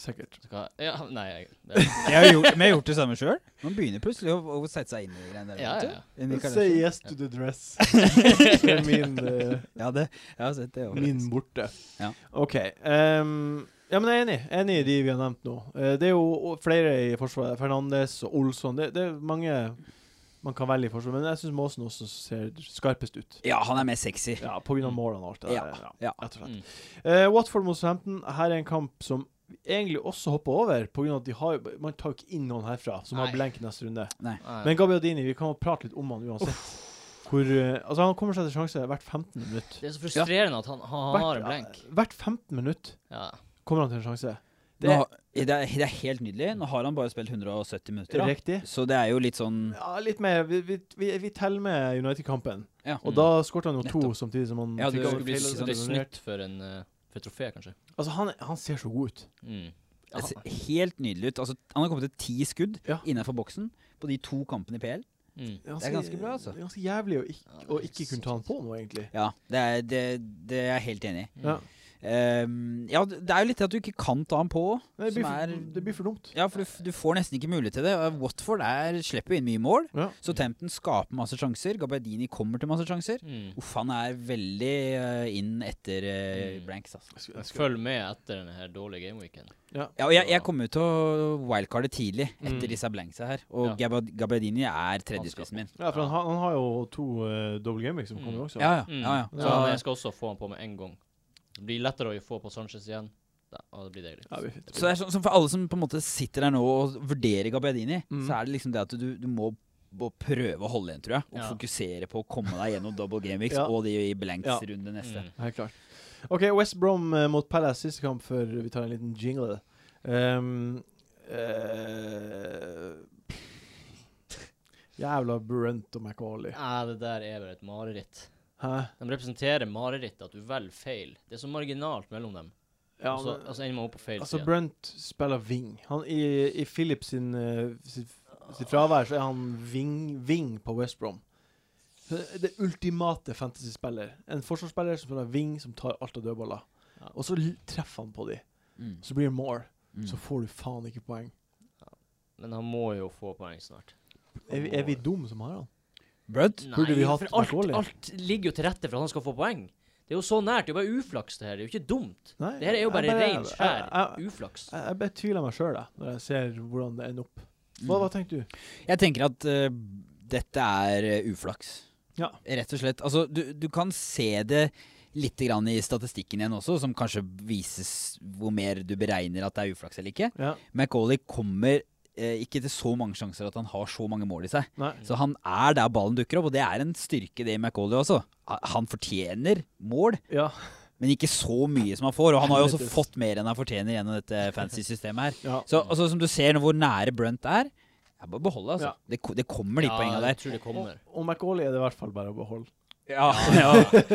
A: Sikkert.
D: Så hva, ja, nei, jeg, det,
B: Jeg har gjort, men jeg har gjort det samme sjøl. Man begynner plutselig å, å sette seg inn i de greiene der.
D: Ja, Mm.
B: vet du.
D: ja, ja.
B: Inn i
A: Say
B: Kardashian.
A: yes to the
B: <laughs>
A: dress. Det er min, eh,
B: Ja, det, jeg har sett det. også.
A: min borte.
B: Ja.
A: OK. ehm, ja, men jeg er enig. Enig i de vi har nevnt nå. Eh, det er jo o- flere i Forsvaret. Fernandes og Olsson. Det, det er mange man kan velge i Forsvaret, men jeg syns Måsen også ser skarpest ut.
B: Ja, han er mer sexy.
A: Ja, på grunn av målene og alt det
B: Ja,
A: der.
B: ja.
A: Rett og slett.
D: mm.
A: Eh, Watford mot Southampton. Her er en kamp som vi egentlig også hopper over, på grunn av at de har, jo- man tar jo ikke inn noen herfra som har
D: Nei.
A: blenk neste runde.
D: Nei.
A: Men Gabbiadini, vi kan jo prate litt om han uansett. Hvor, eh, altså Han kommer seg til sjanse hvert 15 minutt.
D: Det er så frustrerende at han, han har en blank.
A: hvert 15 minutt
D: Ja.
A: kommer han til en sjanse.
B: Nå
A: Det-
B: har- Det, er, det er helt nydelig. Nå har han bare spilt 170 minutter. Da.
A: Riktig.
B: Så det er jo litt sånn
A: Ja, litt mer. Vi, vi, vi, vi teller med United-kampen.
B: Ja.
A: Og
D: Mm.
A: da skåret han jo to
B: Nettopp.
A: samtidig som han
B: Ja,
A: fikk
B: det
A: over
D: skulle bli
A: feil-
B: sånn-
D: det er snytt for, en, eh, for trofé, kanskje.
A: Altså, han, han ser så god ut.
D: Mm.
B: Det ser helt nydelig ut. Altså, han har kommet til ti skudd
A: Ja.
B: innenfor boksen på de to kampene i PL.
D: Mm.
A: Han
B: Det er
A: ser-
B: ganske bra, altså.
A: Ganske jævlig å ikke,
D: Ja, det er
A: å ikke kunne ta han på nå, egentlig.
B: Ja, det er, det, det er jeg helt enig i.
D: Mm.
A: Ja.
B: Ehm, ja, det det er jo litt det at du ikke kan ta ham på.
A: Nei, Det blir,
B: Som
A: for,
B: er-
A: det blir for dumt.
B: Ja, for du, f- du får nesten ikke mulighet til det. Og Watford er, slipper jo inn mye mål.
A: Ja.
B: Så Tempton skaper masse sjanser. Gabardini kommer til masse sjanser.
D: Mm.
B: Uff, han er veldig eh, inn etter eh,
D: Mm.
B: blanks, altså.
A: Jeg skulle- jeg skulle-
D: Følg med etter denne her dårlige gameweeken.
B: Ja, og jeg, jeg kommer jo til å wildcarde tidlig etter
A: Mm.
B: disse blanksa her. Og
D: Ja.
B: Gabba- Gabardini er
D: skal
B: tredjespissen min.
A: Ja, for han, har- han har jo to uh, double gameweeks som
D: Mm.
A: kommer også.
B: Ja, ja.
D: Mm.
B: ja,
D: Så
B: ja.
A: Ja.
D: han, jeg skal også få han på med en gang. Det blir lettere å få på Sanchez igjen. Da, og det blir deilig.
A: Ja, det blir fint.
B: Så det er sånn, sånn for alle som på en måte sitter der nå og vurderer Gabbiadini,
A: Mm.
B: så er det liksom det at du, du må må prøve å holde igjen, tror jeg. Og
D: Ja.
B: fokusere på å komme deg gjennom double gameweeks
A: Ja.
B: og de i blanks
A: Ja.
B: runde neste.
D: Mm.
A: Helt klart. OK, West Brom eh, mot Palace, siste kamp før vi tar en liten jingle. Ehm, eh, jævla Brunt og McAuley.
D: Nei, det der er bare et mareritt.
A: Hæ?
D: De representerer marerittet, at du velger feil. Det er så marginalt mellom dem.
A: Ja,
D: og så
A: men-
D: altså, ender man opp på feil
A: altså,
D: side.
A: Brunt spiller wing. Han, I i Philip sin, eh, sitt, sitt fravær så er han wing, wing på West Brom. Så Det ultimate fantasy-spiller. En forsvarsspiller som spiller wing, som tar alt av dødballer.
D: Ja.
A: Og så l- treffer han på de.
B: Mm.
A: Så blir det more.
B: Mm.
A: Så får du faen ikke poeng.
D: Men han må jo få poeng snart.
A: Er vi, er vi dumme som har han?
B: Brunt?
A: Burde vi hatt
D: for alt,
A: Macaulay?
D: alt ligger jo til rette for at han skal få poeng. Det er jo så nært. Det er jo bare uflaks, det her. Det er jo ikke dumt.
A: Nei,
D: Det her er jo
A: jeg
D: bare rein skjær
A: Jeg, jeg,
D: uflaks.
A: jeg, jeg betviler meg sjøl, når jeg ser hvordan det ender opp.
D: Mm.
A: Hva, hva tenkte du?
B: Jeg tenker at eh, dette er eh, uflaks.
A: Ja.
B: Rett og slett. Altså, du, du kan se det litt grann i statistikken igjen også, som kanskje vises hvor mer du beregner at det er uflaks eller ikke.
A: Ja,
B: Macauley kommer eh, ikke til så mange sjanser at han har så mange mål i seg.
A: nei.
B: Så han er der ballen dukker opp, og det er en styrke det i Macauley også. Ha- Han fortjener mål,
A: Ja,
B: men ikke så mye som han får. Og han har jo også
A: Helvetes.
B: fått mer enn han fortjener gjennom dette fancy systemet her.
A: ja.
B: Så altså, som du ser nå hvor nære Brunt er, det er bare å beholde, altså. Det, ko- det kommer de poengene
D: jeg
B: der.
D: tror det kommer. <laughs>
A: Og, og McAuley er det i hvert fall bare å beholde.
B: Ja, <laughs> ja.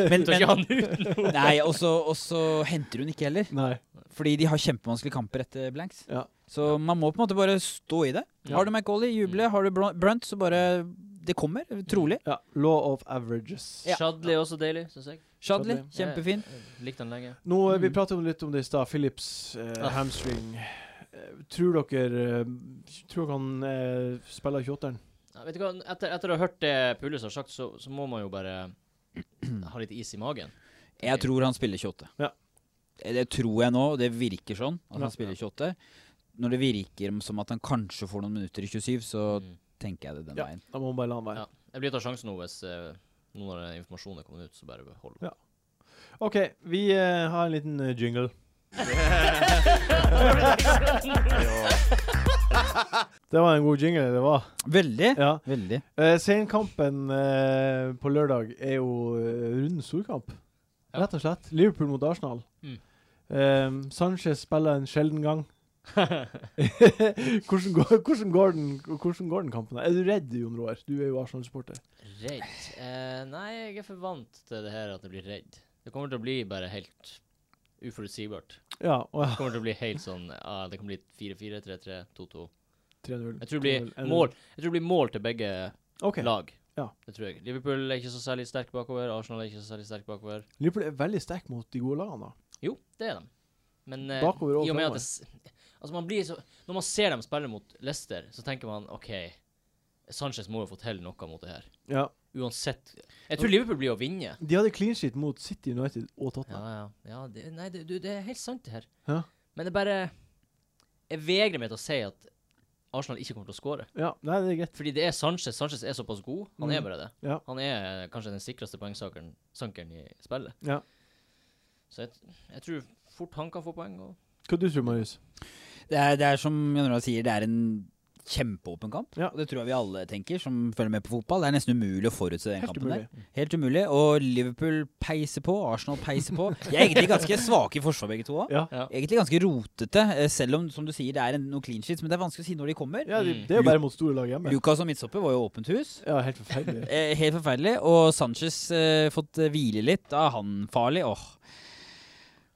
B: Men,
D: Ta
B: men
D: ikke han ut nå.
B: Nei, og så og så henter hun ikke heller.
A: Nei.
B: Fordi de har kjempevanskelige kamper etter blanks.
A: Ja.
B: Så man må på en måte bare stå i det.
A: Ja.
B: Har du Macauley, juble. Har du Br- Brunt, så bare Det kommer, trolig.
A: Ja, Law of averages.
D: Shadley er også deilig, syns jeg.
B: Shadley,
A: Shadley.
B: kjempefin.
D: Jeg Likte han lenge.
A: Nå, eh, Vi
B: Mm.
A: pratet om litt om det i stad. Philips eh,
D: Ah.
A: hamstring. Eh, Tror dere eh, Tror dere han eh, spiller 28-eren?
D: Ja, vet du hva, etter, etter å ha hørt det Pulis har sagt, så, så må man jo bare ha litt is i magen.
B: Jeg tror han spiller 28.
A: Ja.
B: Det det tror jeg nå, og det virker sånn. At
A: Ja.
B: han spiller 28 Når det virker som at han kanskje får noen minutter i 27, så
D: Mm.
B: tenker jeg det den
A: Ja.
B: veien.
A: Da må man bare la han være.
D: Ja. Jeg blir å ta sjansen nå hvis eh, nå når den informasjonen er kommet ut, så bare behold
A: Ja. OK, vi eh, har en liten eh, jingle. <laughs> Det var en god jingle, det var.
B: Veldig.
A: Ja.
B: Veldig.
A: Eh, Senkampen eh, på lørdag er jo eh, rundens storkamp,
D: Ja.
A: rett og slett. Liverpool mot Arsenal.
D: Mm. <laughs>
A: Eh, Sanchez spiller en sjelden gang. <laughs> hvordan, går, hvordan, går den, hvordan går den kampen? her? Er du redd, Jon Roar? Du er jo Arsenal-supporter.
D: Redd? Eh, nei, jeg er for vant til det her at jeg blir redd. Det kommer til å bli bare helt uforutsigbart.
A: Ja, og <laughs>
D: Det
A: ja,
D: kommer til å bli helt sånn ja, Det kan bli 4-4, 3-3, 2-2.
A: 3-0.
D: Jeg tror det blir
A: 2-0, 1-0.
D: mål Jeg tror det blir mål til begge
A: Ok.
D: lag.
A: Ja.
D: Det tror jeg. Liverpool er ikke så særlig sterk bakover. Arsenal er ikke så særlig sterk bakover.
A: Liverpool er veldig sterk mot de gode lagene. da.
D: Jo, det er de. Men eh,
A: Bakover og
D: i og med
A: fremover.
D: at det, s- altså man blir så, Når man ser dem spille mot Leicester, så tenker man OK, Sanchez må jo få til noe mot det her.
A: Ja.
D: Uansett. Jeg tror Liverpool blir å vinne.
A: De hadde clean sheet mot City United og
D: Ja,
A: Tottenham.
D: ja. ja det, nei, det, du, det er helt sant, det her.
A: Ja.
D: Men det er bare Jeg vegrer meg til å si at Arsenal ikke kommer til å skåre.
A: Ja, nei, det er greit.
D: Fordi det er Sanchez. Sanchez er såpass god. Han
A: Mhm.
D: er bare det.
A: Ja.
D: Han er eh, kanskje den sikreste poengsankeren sankeren i spillet.
A: Ja.
D: Så jeg, jeg tror fort han kan få poeng. Og
A: Hva du tror du, Marius?
B: Det er, det er som Jan Olav sier, det er en kjempeåpen kamp.
A: Ja.
B: Og det tror jeg vi alle tenker som følger med på fotball. Det er nesten umulig å forutse den
A: Helt
B: kampen
A: umulig.
B: der. Helt umulig. Og Liverpool peiser på, Arsenal peiser på. De er egentlig ganske svake i forsvar, begge to òg.
A: Ja.
D: Ja.
B: Egentlig ganske rotete, eh, selv om som du sier, det er en, noen clean sheets. Men det er vanskelig å si når de kommer.
A: Ja, de,
D: Mm.
A: det er jo bare mot store lag hjemme.
B: Lucas og midtstopper var jo åpent hus.
A: Ja, helt forferdelig.
B: Eh, helt forferdelig. Og Sanchez eh, fått eh, hvile litt. Da er han farlig. Åh.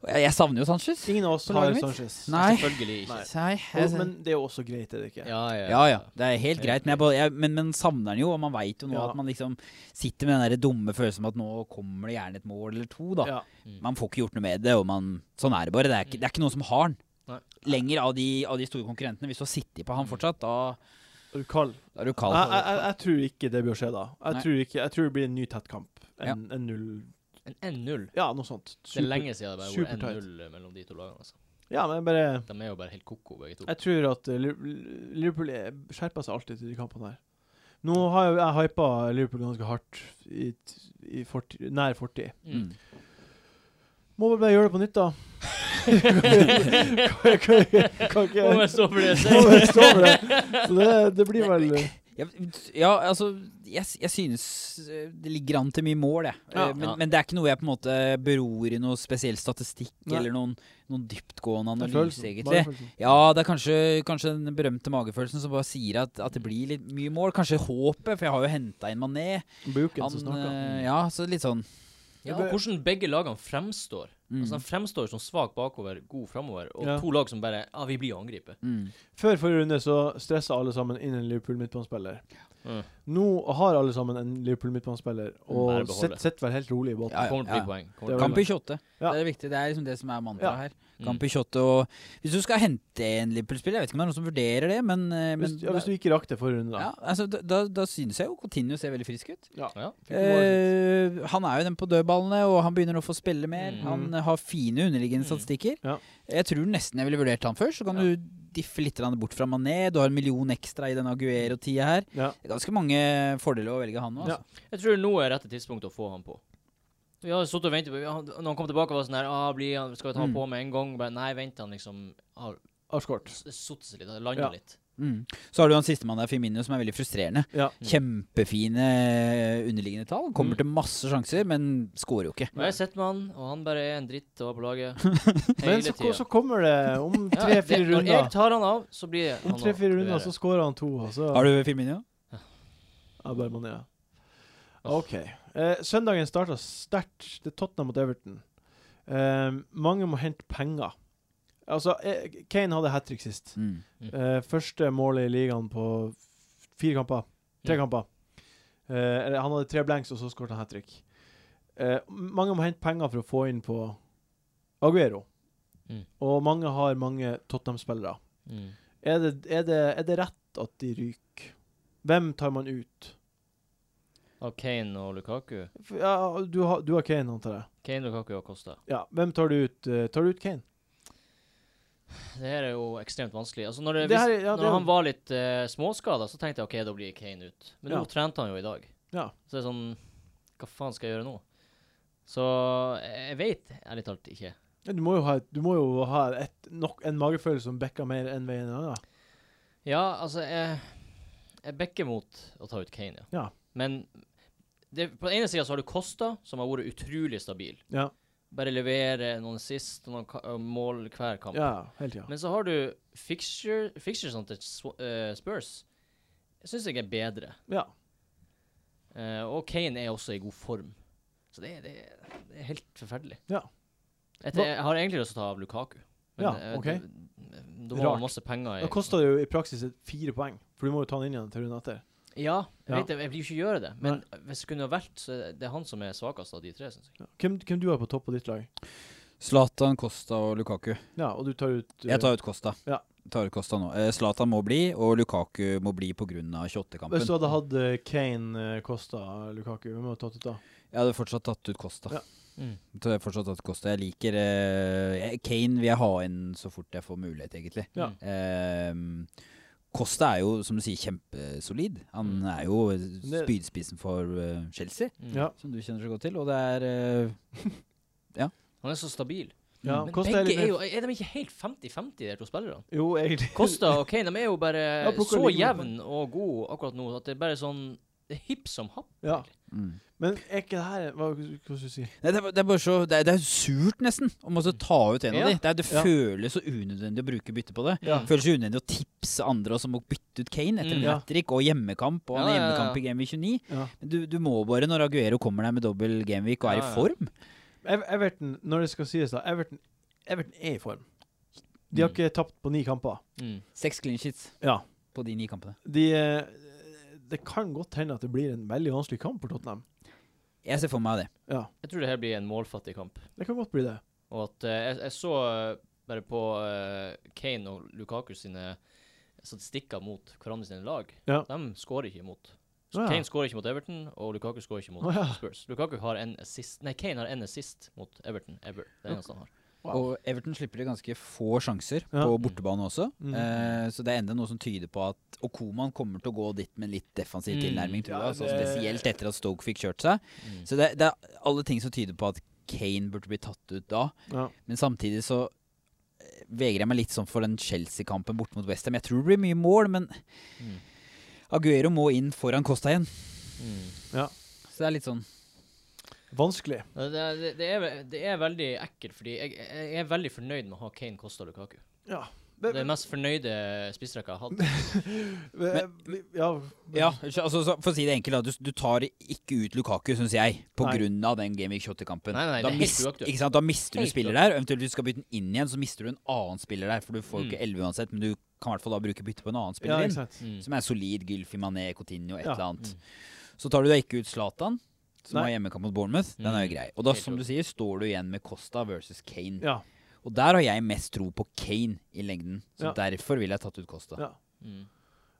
B: Jeg, jeg savner jo Sanchez.
A: <laughs> Ingen av oss
B: På
A: har
B: laget mitt?
A: Sanchez.
B: Nei.
D: Selvfølgelig ikke.
A: Nei.
B: Nei,
A: Og,
B: jeg- sånn-
A: men det er jo også greit, er det ikke?
D: Ja, ja.
B: Ja, ja. Det er helt greit. Men, jeg, bare- jeg, men, men savner den jo, og man veit jo nå
A: Ja.
B: at man liksom sitter med den der dumme følelsen om at nå kommer det gjerne et mål eller to, da.
A: Ja.
D: Mm.
B: Man får ikke gjort noe med det, og man Sånn er det bare. Det er ikke, det er ikke noen som har den.
D: Nei.
B: Lenger av de, av de store konkurrentene. Hvis du har sittet på han
A: Mm.
B: fortsatt, da,
A: Er du kald?
B: da er du
A: Jeg,
B: kald.
A: jeg, jeg, jeg tror ikke det bør skje, da.
B: Nei.
A: Jeg tror, ikke, jeg tror det blir en ny tett kamp. En,
B: Ja.
A: en null
D: En 1-0.
A: Ja, noe sånt.
D: Det er lenge siden det bare
A: supertight.
D: har vært 1-0 mellom de to lagene. altså.
A: Ja, men jeg bare
D: De er jo bare helt ko-ko, begge to.
A: Jeg tror at eh, Liv- Liverpool er- skjerper seg alltid til de kampene her. Nå har jeg, jeg hypa Liverpool ganske hardt i, t- i forti- nær fortid.
D: Mm.
B: <laughs> Mm.
A: Må vel bare gjøre det på nytt, da. kan, kan, kan ikke
D: Må vel stå for
A: <laughs>
D: det jeg
A: Må
D: sier.
A: vel stå for det. Så det, det blir vel
B: Ja, ja, altså jeg, s- jeg synes eh, det ligger an til mye mål, jeg. Eh,
A: Ja.
B: men,
D: Ja.
B: men det er ikke noe jeg på en måte beror i noe spesiell statistikk
A: Nei.
B: eller noen, noen
A: det er
B: dyptgående analyse,
A: følelsen,
B: egentlig.
A: bare følelsen.
B: Ja, det er kanskje, kanskje den berømte magefølelsen som bare sier at, at det blir litt mye mål. Kanskje håpet, for jeg har jo henta inn Mané.
A: Buken
B: Han,
A: som snakker.
B: eh, ja, så litt sånn
D: Ja, og hvordan begge lagene fremstår.
B: mm,
D: Altså, De fremstår som svak bakover, god framover, og
A: Ja.
D: to lag som bare Ja, vi blir å angripe.
B: mm.
A: Før forrige runde så stressa alle sammen inn en Liverpool midtbanespiller.
D: Mm.
A: Nå har alle sammen en Liverpool midtbanespiller
D: Bare
A: og
D: beholde.
A: sitter sitter vel helt rolig i båten.
B: Mm. Ja, ja,
D: Kommer til å
B: ja.
D: bli poeng. Kommer
A: Det
D: til å
A: var-
B: Kamp
D: bli
B: i 28.
A: Ja.
B: Det er viktig. Det er liksom det som er mantraet
A: Ja. Mm.
B: her.
D: poeng.
B: Kamp i 28 og Hvis du skal hente en Liverpool-spiller Jeg vet ikke om det er noen som vurderer det, men, eh, men
A: Hvis, ja, hvis du ikke rakk det forrige runde, da.
B: Ja, altså, da, da, da synes jeg jo Coutinho ser veldig frisk ut.
D: Mm. Ja.
A: Fikk målet sitt.
B: Eh, han er jo den på dødballene, og han begynner å få spille mer.
D: Mm.
B: Han eh, har fine underliggende
D: Mm.
B: statistikker.
A: Ja.
B: Jeg tror nesten jeg ville vurdert han først. Så kan
D: Ja.
B: du diffe litt grann bort fra Mané. Du har en million ekstra i den Aguero-tida her.
A: Ja.
B: Det er ganske mange fordeler å velge han nå.
A: Ja.
B: Altså.
D: Jeg tror nå er rette tidspunkt å få han på. Vi har sittet og ventet på ja, han- Når han kom tilbake, var det sånn her ah, blir han, Skal vi ta han
B: Mm.
D: på med en gang? Bare, nei, vent han liksom har
A: Har skåret.
D: s- sittet seg litt, har landet
A: Ja.
D: litt.
B: Mm. Så har du han sistemann der, Firmino, som er veldig frustrerende.
A: Ja.
D: Mm.
B: Kjempefine eh, underliggende tall. Kommer
D: Mm.
B: til masse sjanser, men scorer jo ikke.
D: Og jeg sitter med han, og han bare er en dritt og er på laget.
A: Men <laughs>
D: Hele
A: så,
D: tida.
A: så kommer det om
D: Ja,
A: tre-fire
D: det- Når
A: runder.
D: jeg tar han av, så blir han
A: Om tre-fire runder så skårer han to, og så
B: Har du Firmino?
A: ja, bare man, ja. OK. Eh, søndagen starta sterkt. Det er Tottenham mot Everton. Eh, mange må hente penger. Altså, eh, Kane hadde hat trick sist.
B: Mm.
A: Eh, første målet i ligaen på f- fire kamper. Tre
D: Mm.
A: kamper. Eh, eller han hadde tre blanks, og så skåret han hat trick. Eh, mange må hente penger for å få inn på Aguero.
D: Mm.
A: Og mange har mange Tottenham-spillere.
D: Mm.
A: Er, det- er, det- er det rett at de ryker? Hvem tar man ut?
D: Av Kane og Lukaku.
A: F- Ja, du, har, du har Kane, antar jeg.
D: Kane, Lukaku og Costa.
A: Ja, Hvem tar du ut? Eh, tar du ut Kane?
D: Det her er jo ekstremt vanskelig. Altså når det,
A: Det
D: hvis,
A: her er- ja, det
D: når
A: er-
D: han var litt uh, småskada, så tenkte jeg OK, da blir Kane ut. Men
A: Ja.
D: nå trente han jo i dag.
A: Ja.
D: Så det er sånn Hva faen skal jeg gjøre nå? Så jeg jeg vet ærlig talt ikke.
A: Ja, Du må jo ha, et- du må jo ha et, nok, en magefølelse som backer mer enn vei enn en annen.
D: Ja, altså Jeg, jeg backer mot å ta ut Kane, ja.
A: Ja.
D: Men det, på den ene sida så har du Costa, som har vært utrolig stabil.
A: Ja.
D: bare levere noen sist og noen ka og mål hver kamp.
A: Ja, hele tida.
D: Men så har du fixture, fixturesene til Sw- eh, Spurs. Jeg syns jeg er bedre.
A: Ja.
D: Eh, og Kane er også i god form. Så det, er- det, er- det er helt forferdelig.
A: Ja.
D: Jeg,
A: Hva-
D: jeg har egentlig lyst til å ta av Lukaku.
A: Ja,
D: eh,
A: ok.
D: Da da må
A: Rart.
D: man masse penger
A: Da
D: i
A: kosta det jo i praksis et fire poeng, for du må jo ta den inn igjen til runden etter.
D: Ja, jeg
A: Ja.
D: vet det, jeg vil jo ikke gjøre det. Men hvis det kunne ha vært, så er det- det er han som er svakest av de tre, syns jeg.
A: Ja. Hvem, hvem du har på topp på ditt lag?
B: Zlatan, Costa og Lukaku.
A: Ja, og du tar ut eh,
B: Jeg tar ut Costa.
A: Ja.
B: Tar ut Costa nå. Eh, Zlatan må bli, og Lukaku må bli pga. 28-kampen.
A: Hvis du hadde hatt eh, Kane, eh, Costa, Lukaku, hvem hadde du tatt ut da?
B: Jeg hadde fortsatt tatt ut Costa.
A: Ja. Mm.
B: Så jeg har fortsatt tatt Costa. Jeg liker eh, jeg- Kane vil jeg ha inn så fort jeg får mulighet, egentlig.
A: Ja.
D: Mm.
B: Ehm, Costa er jo, som du sier, kjempesolid. Han
A: Mm.
B: er jo spydspissen for eh, Chelsea,
D: Mm.
A: Ja.
B: som du kjenner så godt til, og det er eh,
D: Han er så stabil.
A: Ja,
D: Mm, Men
A: Costa er
D: begge
A: litt
D: er
A: mer
D: jo Er de ikke helt 50-50, de to spillerne?
A: Jo, egentlig.
D: Costa og Kane de er jo bare
A: Ja, plukker
D: så
A: like mye
D: jevn og god akkurat nå at det er bare sånn Det er hipp som happ.
A: Ja.
D: egentlig.
B: mm.
A: Men er ikke det her Hva hva skal du si?
B: Nei, det, er, bare- det er bare så Det er, det er surt, nesten, å måtte ta ut en
D: Ja.
B: av de. Det, er, det
A: Ja.
B: føles så unødvendig å bruke bytte på det.
D: Ja.
B: Føles så unødvendig å tipse andre også om å bytte ut Kane etter
D: Mm.
B: en
A: Ja.
B: hat trick og hjemmekamp, og han
D: Ja, ja,
B: har
D: ja.
B: hjemmekamp i Game Week 29.
A: Ja.
B: Men Du, du må bare, når Aguero kommer der med dobbel gameweek og er
D: Ja, ja.
B: i form
A: Ev- Everton, når det skal sies, da Everton, Everton er i form. De har
D: Mm.
A: ikke tapt på ni kamper.
D: Mm.
B: Seks clean sheets
A: Ja.
B: på de ni kampene.
A: De eh, Det kan godt hende at det blir en veldig vanskelig kamp for Tottenham.
B: Jeg ser for meg det.
A: Ja,
D: Jeg tror det her blir en målfattig kamp.
A: det kan godt bli det.
D: Og at eh, jeg, jeg så eh, bare på eh, Kane og Lukaku sine statistikker mot hverandre sine lag.
A: Ja.
D: De skårer ikke imot.
A: Å, ja.
D: Kane skårer ikke mot Everton, og Lukaku skårer ikke mot
A: Å, ja.
D: Spurs. Lukaku har en assist Nei, Kane har en assist mot Everton ever. Det er eneste han har.
A: Wow.
B: Og Everton slipper det ganske få sjanser
A: Ja.
B: på bortebane også.
A: Mm.
B: Eh, så det er enda noe som tyder på at Og Koman kommer til å gå dit med en litt defensiv
D: Mm.
B: tilnærming, tror jeg.
A: Ja,
B: Altså,
A: det-
B: spesielt etter at Stoke fikk kjørt seg.
D: Mm.
B: Så det, det er alle ting som tyder på at Kane burde bli tatt ut da.
A: Ja.
B: Men samtidig så eh, vegrer jeg meg litt sånn for den Chelsea-kampen borte mot Westham. Jeg tror det blir mye mål, men
D: Mm.
B: Aguero må inn foran Costa igjen.
D: Mm.
B: Så det er litt sånn
A: Vanskelig.
D: Det, det, det, er, ve- det er veldig ekkelt, fordi jeg, jeg er veldig fornøyd med å ha Kane, Costa og Lukaku.
A: Ja.
D: Det er den mest fornøyde spissrekka jeg har hatt.
A: Men, Eh, ja,
B: Ja, så- altså, så for å si det enkelt, da, du, du tar ikke ut Lukaku, syns jeg, på
A: Nei.
B: grunn av den Game Week 28-kampen.
D: Nei, nei,
B: da,
D: det er helt
B: mis-
D: uaktuelt.
B: ikke sant, da mister du en
D: Helt
B: spiller
D: uaktuelt.
B: der, og eventuelt hvis du skal bytte den inn igjen, så mister du en annen spiller der, for du får jo ikke
D: Mm.
B: 11 uansett, men du kan i hvert fall da bruke bytte på en annen
A: ja,
B: spiller
A: ikke
B: inn,
A: sant.
D: Mm.
B: som er solid, Gylfi, Mané, Coutinho, et
A: Ja.
B: eller annet.
D: Mm.
B: Så tar du da ikke ut Zlatan, som
A: Nei.
B: har hjemmekamp mot Bournemouth. Den er jo
D: Mm.
B: grei. Og da,
D: Helt
B: som du sier, står du igjen med Costa versus Kane.
A: Ja.
B: Og der har jeg mest tro på Kane i lengden, så
A: Ja.
B: derfor ville jeg tatt ut Costa.
A: Ja.
D: Mm.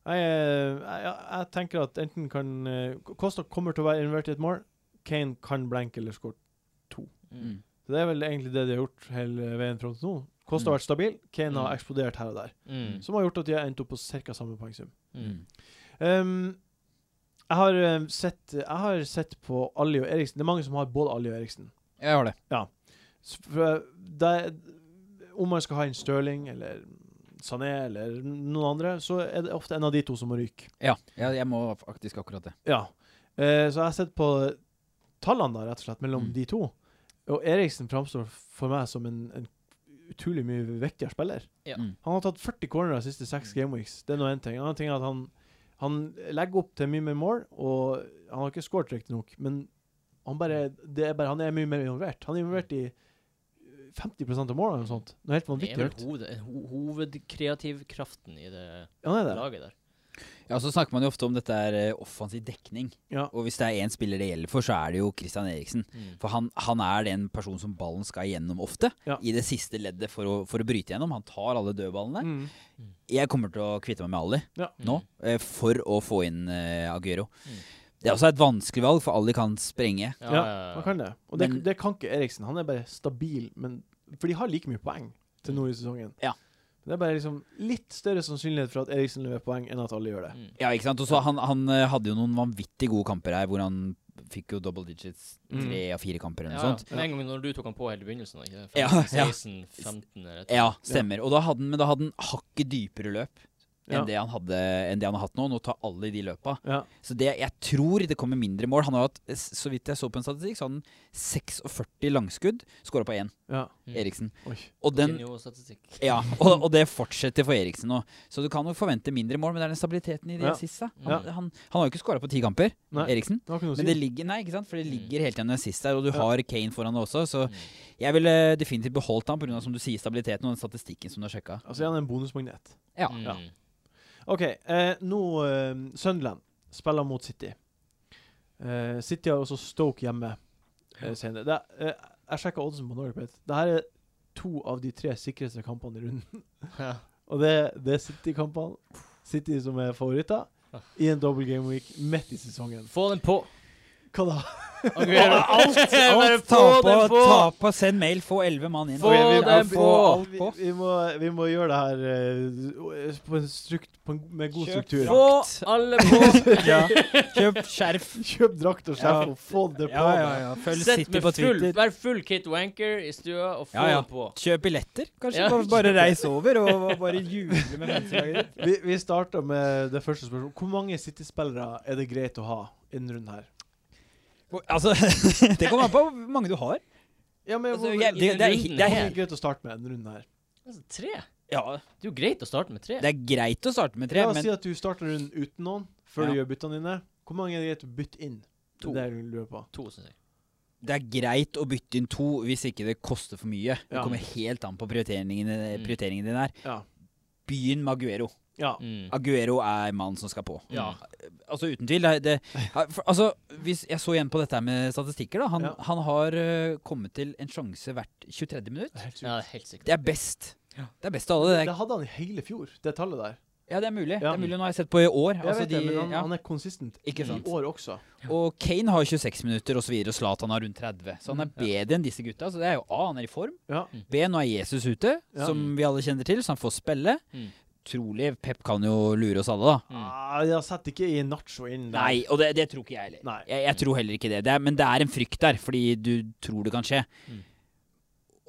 A: Jeg, eh, jeg, jeg jeg tenker at enten kan eh, Costa kommer til å være involvert i et mål. Kane kan blenke eller score.
D: Mm.
B: Mm.
A: Så Det er vel egentlig det de har gjort hele veien fram til nå. Costa
B: Mm.
A: har vært stabil, Kane har
D: Mm.
A: eksplodert her og der.
D: Mm.
A: Som har gjort at de har endt opp på ca. samme poengsum.
D: Mm.
B: Mm.
A: Ehm, jeg, har, eh, sett, jeg har sett på Ali og Eriksen. Det er mange som har både Ali og Eriksen.
B: Jeg har det.
A: S- fra- det, om man skal ha inn Stirling eller Sané eller noen andre, så er det ofte en av de to som må ryke.
B: Ja, jeg, jeg må faktisk akkurat det.
A: Ja. Eh, så jeg har sett på tallene da, rett og slett, mellom
B: Mm.
A: de to. Og Eriksen framstår for meg som en, en utrolig mye viktigere spiller.
D: Ja. Mm.
B: Mm.
A: Han har tatt 40 corner de siste seks gameweeks. Det er nå én ting. En annen ting er at han, han legger opp til mye mer mål, og han har ikke skåret riktignok, men han, bare, det er bare, han er mye mer involvert. Han er involvert i 50 av målene eller noe sånt. Noe helt
D: Det
A: vanvittig
D: er vel
A: høyt.
D: hoved, ho hovedkreativkraften i det
A: Han er det.
D: laget der.
B: Ja, Så snakker man jo ofte om dette er eh, offensiv dekning.
A: Ja.
B: Og hvis det er én spiller det gjelder for, så er det jo Christian Eriksen.
D: Mm.
B: For han, han er den personen som ballen skal gjennom ofte.
A: Ja.
B: I det siste leddet for å, for å bryte gjennom. Han tar alle dødballene.
A: Mm.
B: Jeg kommer til å kvitte meg med Ali nå,
D: Mm.
B: eh, for å få inn eh, Aguero.
D: Mm.
B: Det er også et vanskelig valg, for Ali kan sprenge.
D: Ja,
A: Ja,
D: ja, ja.
A: han kan det. Og det,
B: Eh, Men-
A: det kan ikke Eriksen. Han er bare stabil, men For de har like mye poeng til nå i sesongen.
B: Mm. Ja.
A: Det er bare liksom litt større sannsynlighet for at Eriksen leverer poeng, enn at alle gjør det.
D: Mm.
B: Ja, ikke sant? Og så han, han eh, hadde jo noen vanvittig gode kamper her, hvor han fikk jo double digits tre av fire kamper
D: Ja,
B: eller noe sånt.
D: Men en gang når du tok han på helt i begynnelsen, da, ikke?
B: Ja,
D: 15,
B: ja.
D: 16, 15 eller et
B: Ja, stemmer. Og da hadde han, men da hadde han hakket dypere løp.
A: Ja.
B: Mm. enn, det han hadde, enn det han har hatt nå. Nå tar alle i de løpa.
A: Ja.
B: Så det, jeg tror det kommer mindre mål. Han har hatt, s- så vidt jeg så på en statistikk, så hadde han 46 langskudd, skåra på én,
A: ja.
D: Mm.
B: Eriksen.
A: Oi.
B: Og, den,
D: Coutinho-statistikk.
B: ja, og, og det fortsetter for Eriksen nå. Så du kan jo forvente mindre mål, men det er den stabiliteten i det
A: Ja.
B: siste. Han,
D: Ja.
B: han, han har jo ikke skåra på ti kamper,
A: Nei,
B: Eriksen.
A: det har ikke noe å si.
B: Men det ligger, nei, ikke sant? For det
D: Mm.
B: ligger hele tiden en assist der, og du
A: Ja.
B: har Kane foran deg også. Så
D: Mm.
B: jeg ville eh, definitivt beholdt han pga. som du sier, stabiliteten og den statistikken som du har sjekka.
A: Altså, er han en bonusmagnet.
B: Ja.
D: Mm.
A: Ja. OK, eh, nå eh, Sunderland spiller mot City. Eh, City har også Stoke hjemme eh, senere. Det, er- eh, jeg sjekka oddsen på Norwegian. Det her er to av de tre sikreste kampene i runden.
D: Ja.
A: Og det, det er City-kampene. City som er favoritter i en double game week midt i sesongen.
D: Få den på!
A: Hva da?
D: Aguero. Bare
B: Alt! Ta
D: få
B: på,
D: den på!
B: ta på, send mail, få elleve mann inn.
D: Få
A: Ok, vi-
D: den
A: vi-
D: på!
A: Vi, vi, må, vi må gjøre det her eh, på en strukt, på en, med god
B: Kjøp
A: struktur.
D: Få alle på!
B: <laughs> Ja.
D: <laughs>
B: Kjøp skjerf.
A: Kjøp drakt og skjerf
B: Ja.
A: og få det på.
B: Ja, ja, ja. <laughs> Følg
D: Sett
B: City
D: med
B: på
D: full,
B: Twitter.
D: vær full Kate Wanker i stua, og få
B: Ja, ja.
D: den på.
B: Kjøp billetter, kanskje.
D: Ja.
B: Bare- Bare reis over og
D: <laughs>
B: bare juble med menneskelaget ditt.
A: Vi, vi starter med det første spørsmålet. Hvor mange City-spillere er det greit å ha i denne runden her?
B: Altså, <laughs> det kommer an på hvor mange du har.
A: Ja, men
D: Altså,
A: hvor,
B: jeg- det- det er-
D: runden
B: det
A: hvor mange
D: her-
A: er greit å starte med i denne runden her?
D: Altså, Tre?
B: Ja,
D: Det er jo greit å starte med tre.
B: Det er greit å starte med tre,
A: La oss
B: men
A: si at du starter runden uten noen, før du
B: Ja.
A: gjør byttene dine. Hvor mange er det greit å bytte inn?
D: To.
A: Det er det jeg lurer på.
D: To, synes jeg.
B: det er greit å bytte inn to hvis ikke det koster for mye. Det
A: Ja.
B: kommer helt an på prioriteringen,
D: Mm.
B: prioriteringen din her.
A: Ja.
B: Begynn med Aguero.
A: Ja.
D: Mm.
B: Aguero er mannen som skal på.
D: Ja.
B: Altså uten tvil. Det, det, ja, for, altså, hvis jeg så igjen på dette her med statistikker. Da. Han,
A: Ja.
B: han har øh, kommet til en sjanse hvert 23. minutt.
A: Det er helt sykt.
D: Ja, det er helt sikkert.
B: Det er best. Det er best av alle. Det er,
A: Det hadde han i hele fjor, det tallet der.
B: ja, det er mulig.
A: Ja.
B: Det er mulig Nå har jeg sett på i år.
A: Jeg
B: Altså,
A: vet
B: de,
A: det, men han,
B: ja.
A: han er konsistent
B: Ikke
A: i
B: sant.
A: år også.
B: Og Kane har 26 minutter osv., og Zlatan har rundt 30. Så han er bedre enn disse gutta. Så det er jo A, han er i form.
A: Mm. Ja.
B: B, nå er Jesus ute,
A: Ja.
B: som vi alle kjenner til, så han får spille.
D: Mm.
B: Trolig. Pep kan jo lure oss alle, da.
D: Mm.
A: Ah, jeg setter ikke i Nacho inn der.
B: Nei, og det, det tror ikke jeg heller.
A: Nei.
B: Jeg, jeg tror heller ikke det. det er, men det er en frykt der, fordi du tror det kan skje.
D: Mm.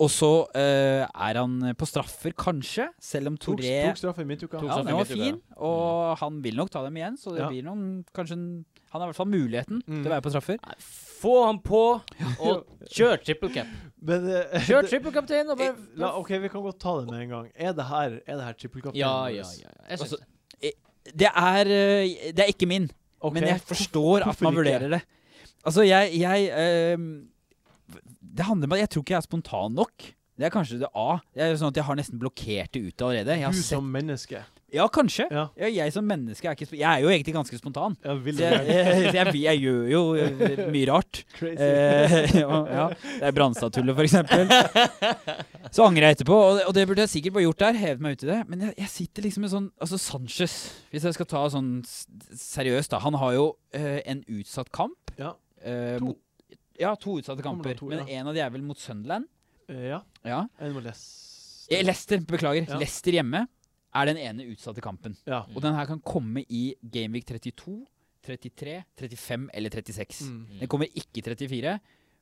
B: Og så eh, er han på straffer, kanskje, selv om
A: Tok,
B: Toré
A: tok straffe i midtuka.
D: Tok
B: ja,
D: straffe i
B: den var
D: midtuka, ja.
B: fin, og han vil nok ta dem igjen. Så det
A: Ja.
B: blir noen kanskje en, Han har i hvert fall muligheten
A: Mm.
B: til å være på straffer.
D: Nei, Få han på, og kjør triple
B: <laughs>
D: cap.
A: Men eh,
D: Kjør
A: det-
D: triple captain, og
B: Eh,
D: bare
A: La, OK, vi kan godt ta det med en gang. Er det her, er det her trippelkapteinen
D: Ja,
A: vår?
D: ja, ja. Jeg synes
B: Altså,
D: det.
B: Det er, eh, det er ikke min,
A: Ok.
B: men jeg forstår at
A: hvorfor
B: man
A: ikke?
B: vurderer det. Altså, jeg, jeg eh, Det handler om at jeg tror ikke jeg er spontan nok. Det er kanskje det A. Det er sånn at Jeg har nesten blokkert det ut allerede. Jeg har
A: Du
B: sett
A: som menneske.
B: Ja, kanskje.
A: Ja.
B: Ja, jeg som menneske er ikke sp- Jeg er jo egentlig ganske spontan.
A: Jeg vil
B: Så
A: det.
B: jeg, <laughs> jeg, jeg, jeg gjør jo eh, mye rart.
A: <laughs> Crazy.
B: Eh, <laughs> ja, ja. Det er Brannstad-tullet, for eksempel. Så angrer jeg etterpå, og det, og det burde jeg sikkert bare gjort der. Hevet meg ut i det. Men jeg, jeg sitter liksom med sånn Altså, Sanchez, hvis jeg skal ta sånn s- seriøst, da. Han har jo eh, en utsatt kamp.
A: Ja.
B: Eh,
A: To.
B: mot, ja, to utsatte
A: Kommer
B: kamper.
A: det to,
B: men en av de er vel mot Sunderland.
A: Eh, ja.
B: Ja.
A: Jeg må lese
B: Eh, Leicester, beklager.
A: Ja. Mm.
B: Leicester hjemme er den ene utsatte kampen.
A: Ja.
B: Og den her kan komme i Gameweek 32, 33, 35 eller 36.
A: Mm.
B: Den kommer ikke i 34,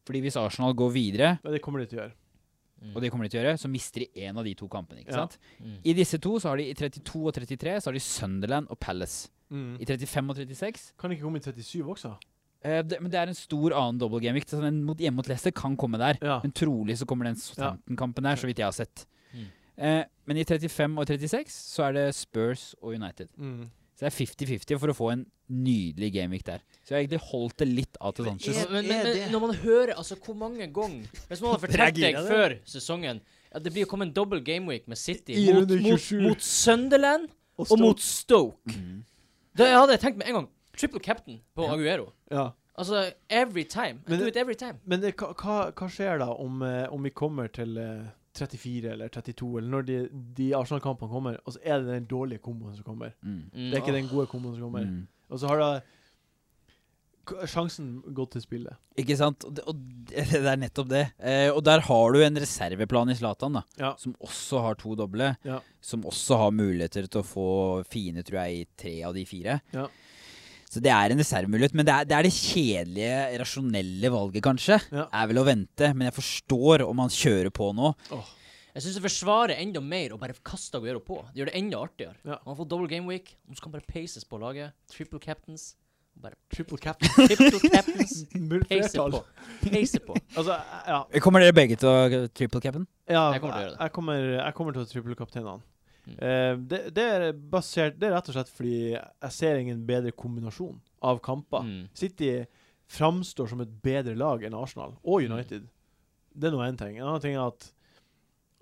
B: fordi hvis Arsenal går videre,
A: Men det kommer de til å gjøre.
B: og det kommer de til å gjøre, så mister de én av de to kampene. ikke
A: Ja.
B: sant?
D: Mm.
B: I disse to så har de i 32 og 33 så har de Sunderland og Palace. I 35 og 36
A: Mm. Kan ikke komme i 37 også?
B: eh, det, Men det er en stor annen double gameweek. så Den mot, hjemme mot Leicester kan komme der.
A: Ja.
B: Men trolig så kommer den
A: Ja.
B: Southampton-kampen der, så vidt jeg har sett.
D: Mm.
B: Eh, men i 35 og 36 så er det Spurs og United.
A: Mm.
B: Så det er 50-50 for å få en nydelig gameweek der. Så jeg har egentlig holdt det litt av til Sanchez.
D: Men, men,
A: Er
D: men
A: det-
D: når man hører altså hvor mange ganger Hvis noen hadde fortalt deg
B: Reagerer det?
D: før sesongen at det blir å komme en double gameweek med City
A: I
D: mot,
A: runde
D: mot,
A: 27.
D: mot Sunderland
A: Og
D: og
A: Stoke.
D: mot Stoke
B: Mm.
D: Da hadde jeg tenkt med en gang triple captain på
B: Ja.
D: Aguero.
A: Ja.
D: Altså every time. I
A: Men
D: do
A: det-
D: it every time.
A: Men det, hva, hva- hva skjer da om, eh, om vi kommer til eh, 34 eller 32, eller når de, de Arsenal-kampene kommer, og så er det den dårlige komboen som kommer?
B: Mm.
D: Mm,
A: Det er ikke
D: åh.
A: den gode komboen som kommer.
B: Mm.
A: Og så har da k- sjansen gått til spillet.
B: Ikke sant? Og det, og <laughs> det det er nettopp det. Eh, og der har du en reserveplan i Zlatan, da.
A: Ja.
B: Som også har to doble.
A: Ja.
B: Som også har muligheter til å få fine, tror jeg, i tre av de fire.
A: Ja.
B: Så det er en reservemulighet. Men det er, det er det kjedelige, rasjonelle valget, kanskje.
A: Ja.
B: Er vel å vente. Men jeg forstår om han kjører på nå.
A: Åh.
D: Jeg Jeg syns det forsvarer enda mer å bare kaste Aguero på. Det gjør det enda artigere.
A: Ja.
D: Han har fått double game week. Nå skal han bare peises på laget. Triple captains. Bare <laughs>
A: Triple cap.
D: triple
A: <laughs>
D: captains. Peise
A: Flertall.
D: på. Peise på.
A: Altså, ja.
B: Kommer dere begge til å triple capen?
A: ja
D: Jeg kommer til å gjøre det.
A: Jeg kommer, jeg kommer til å triple kapteinene.
D: Mm.
A: Eh, det, det er basert Det er rett og slett fordi jeg ser ingen bedre kombinasjon av <laughs> kamper.
D: Mm.
A: City framstår som et bedre lag enn Arsenal og
D: Mm.
A: United. Det er nå én ting. En annen ting er at,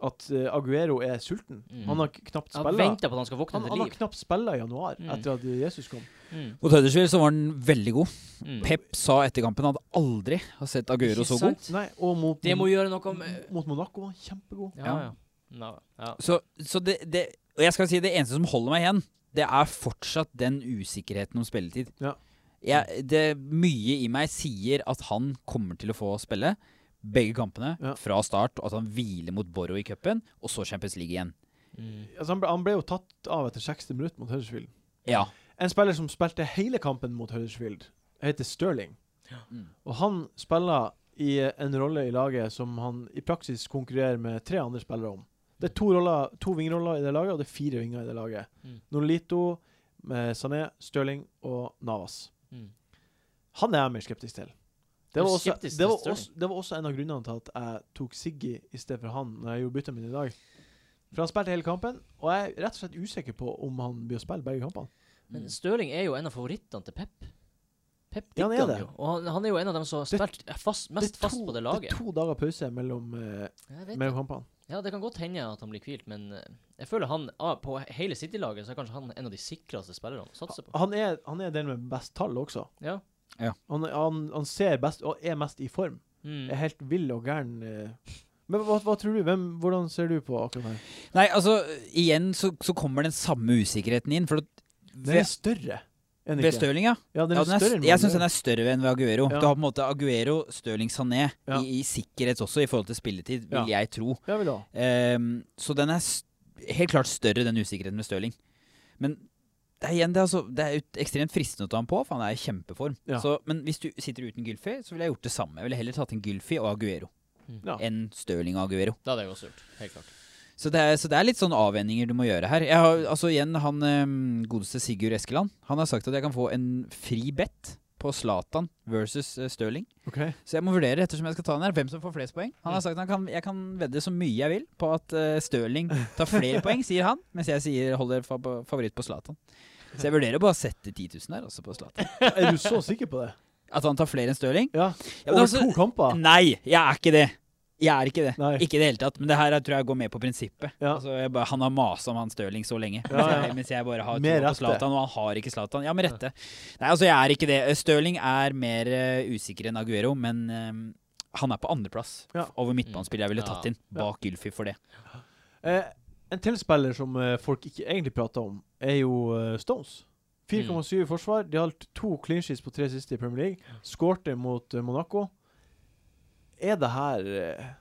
A: at eh, Aguero er sulten.
D: Mm.
A: Han har k- knapt
D: Jeg har
A: spilla han,
D: venta på at han skal våkne
A: han
D: til
A: har
D: liv.
A: knapt spillet i januar,
D: Mm.
A: etter at Jesus kom.
D: Mm.
B: Mot Huddersfield så var han veldig god.
D: Mm.
B: Pep sa etter kampen han hadde aldri har sett Aguero
D: Ikke
B: så god.
D: sant? Mm.
A: Nei, og mot,
D: Det må gjøre noe med
A: mot Monaco var han kjempegod.
D: Ja,
B: Ja.
D: ja. ja. ja.
B: Så, så det, det Og jeg skal si det eneste som holder meg igjen, det er fortsatt den usikkerheten om spilletid.
A: Ja.
B: Jeg, det Mye i meg sier at han kommer til å få spille begge kampene
A: Ja.
B: fra start, og at han hviler mot Borough i cupen, og så Champions League igjen.
D: Mm.
A: Altså, han, ble, han ble jo tatt av etter 60 minutter mot Huddersfield.
B: Ja.
A: En spiller som spilte hele kampen mot Huddersfield, heter Sterling.
B: Mm.
A: Og han spiller i eh, en rolle i laget som han i praksis konkurrerer med tre andre spillere om. Det er to, roller, to vingroller i det laget, og det er fire vinger i det laget.
D: Mm.
A: Nolito, eh, Sané, Stirling og Navas.
D: Mm.
A: Han er jeg mer skeptisk til. Det
D: Er
A: var,
D: du
A: også,
D: skeptisk til
A: det, var
D: Sterling?
A: også, det var også en av grunnene til at jeg tok Siggy i stedet for han når jeg gjorde byttet mitt i dag. For han spilte hele kampen, og jeg er rett og slett usikker på om han blir å spille begge kampene.
D: Men Stirling er jo en av favorittene til Pep. Pep
A: Mm. Ja,
D: digger
A: han er
D: han,
A: det.
D: jo. Og han, han er jo en av dem som har
A: Det-
D: spilt fast, mest
A: Det er
D: fast
A: to-
D: på det
A: Det
D: laget.
A: er to dager pause mellom, eh,
D: Jeg vet
A: mellom
D: det.
A: kampene.
D: Ja, det kan godt hende at han blir hvilt, men eh, jeg føler han ah, på hele City-laget så er kanskje han en av de sikreste spillerne å satse på.
A: Han er, han er den med best tall også.
D: Ja.
A: Han, han, han ser best og er mest i form.
D: Mm.
A: Er helt vill og gæren. eh. Men hva, hva tror du? Hvem, hvordan ser du på akkurat her?
B: Nei, altså, igjen så, så kommer den samme usikkerheten inn. For at
A: Den er
B: ved,
A: større. er den
B: ved
A: ikke?
B: Stirling, ja.
A: Ja, den
B: ja
A: er
B: den er,
A: større
B: st- jeg syns den er større enn ved Aguero.
A: Ja.
B: Du har på en måte Aguero, Stirling, Sané
A: Ja.
B: i, i sikkerhet også, i forhold til spilletid, vil jeg tro.
A: Ja, vel da.
B: Ehm, så den er st helt klart større, den usikkerheten med Stirling. Men det er igjen det, er altså, det er ut- ekstremt fristende å ta ham på, for han er i kjempeform.
A: Ja.
B: Så, men hvis du sitter uten Gylfi, så ville jeg gjort det samme. Jeg ville heller tatt inn Gylfi og Aguero
A: Ja.
B: enn Stirling og Aguero.
D: Det hadde jeg også gjort. Helt klart.
B: Så det, er, så det er litt sånn avveininger du må gjøre her. Jeg har, altså igjen, han ehm, godeste Sigurd Eskeland Han har sagt at jeg kan få en fri bet på Zlatan versus eh, Stirling. <laughs>
A: OK.
B: Så jeg må vurdere ettersom jeg skal ta den her, hvem som får flest poeng. Han
A: Mm.
B: har sagt han kan, jeg kan vedde så mye jeg vil på at eh, Stirling tar
A: <laughs>
B: flere poeng, sier han. Mens jeg sier holder fa favoritt på Zlatan. Så jeg vurderer bare å sette 10 000 her, altså på Zlatan.
A: Er du så sikker på det?
B: At han tar flere enn Stirling?
A: Ja.
B: Ja, men
A: Over
B: altså-
A: to kamper?
B: Nei, jeg er ikke det. Jeg er ikke det.
A: Nei.
B: Ikke i det hele tatt. Men det her er- tror jeg går med på prinsippet.
A: Ja.
B: Altså, jeg bare, han har masa om han Stirling så lenge, mens,
A: Ja, ja.
B: Jeg, <laughs> mens jeg bare har
A: Med
B: troa på
A: rette.
B: Zlatan, og han har ikke Zlatan. Ja, med rette. Nei, altså, jeg er ikke det. Stirling er mer eh, usikker enn Aguero, men eh, han er på andreplass
A: Ja.
B: over midtbanespillet jeg ville tatt
D: Ja.
B: inn, bak Ylfi for det.
A: Eh, en til spiller som eh, folk ikke egentlig prater om, er jo eh, Stones. 4,7 i forsvar. De har holdt to clean sheets på tre siste i Premier League. Skårte mot eh, Monaco. Er det her eh,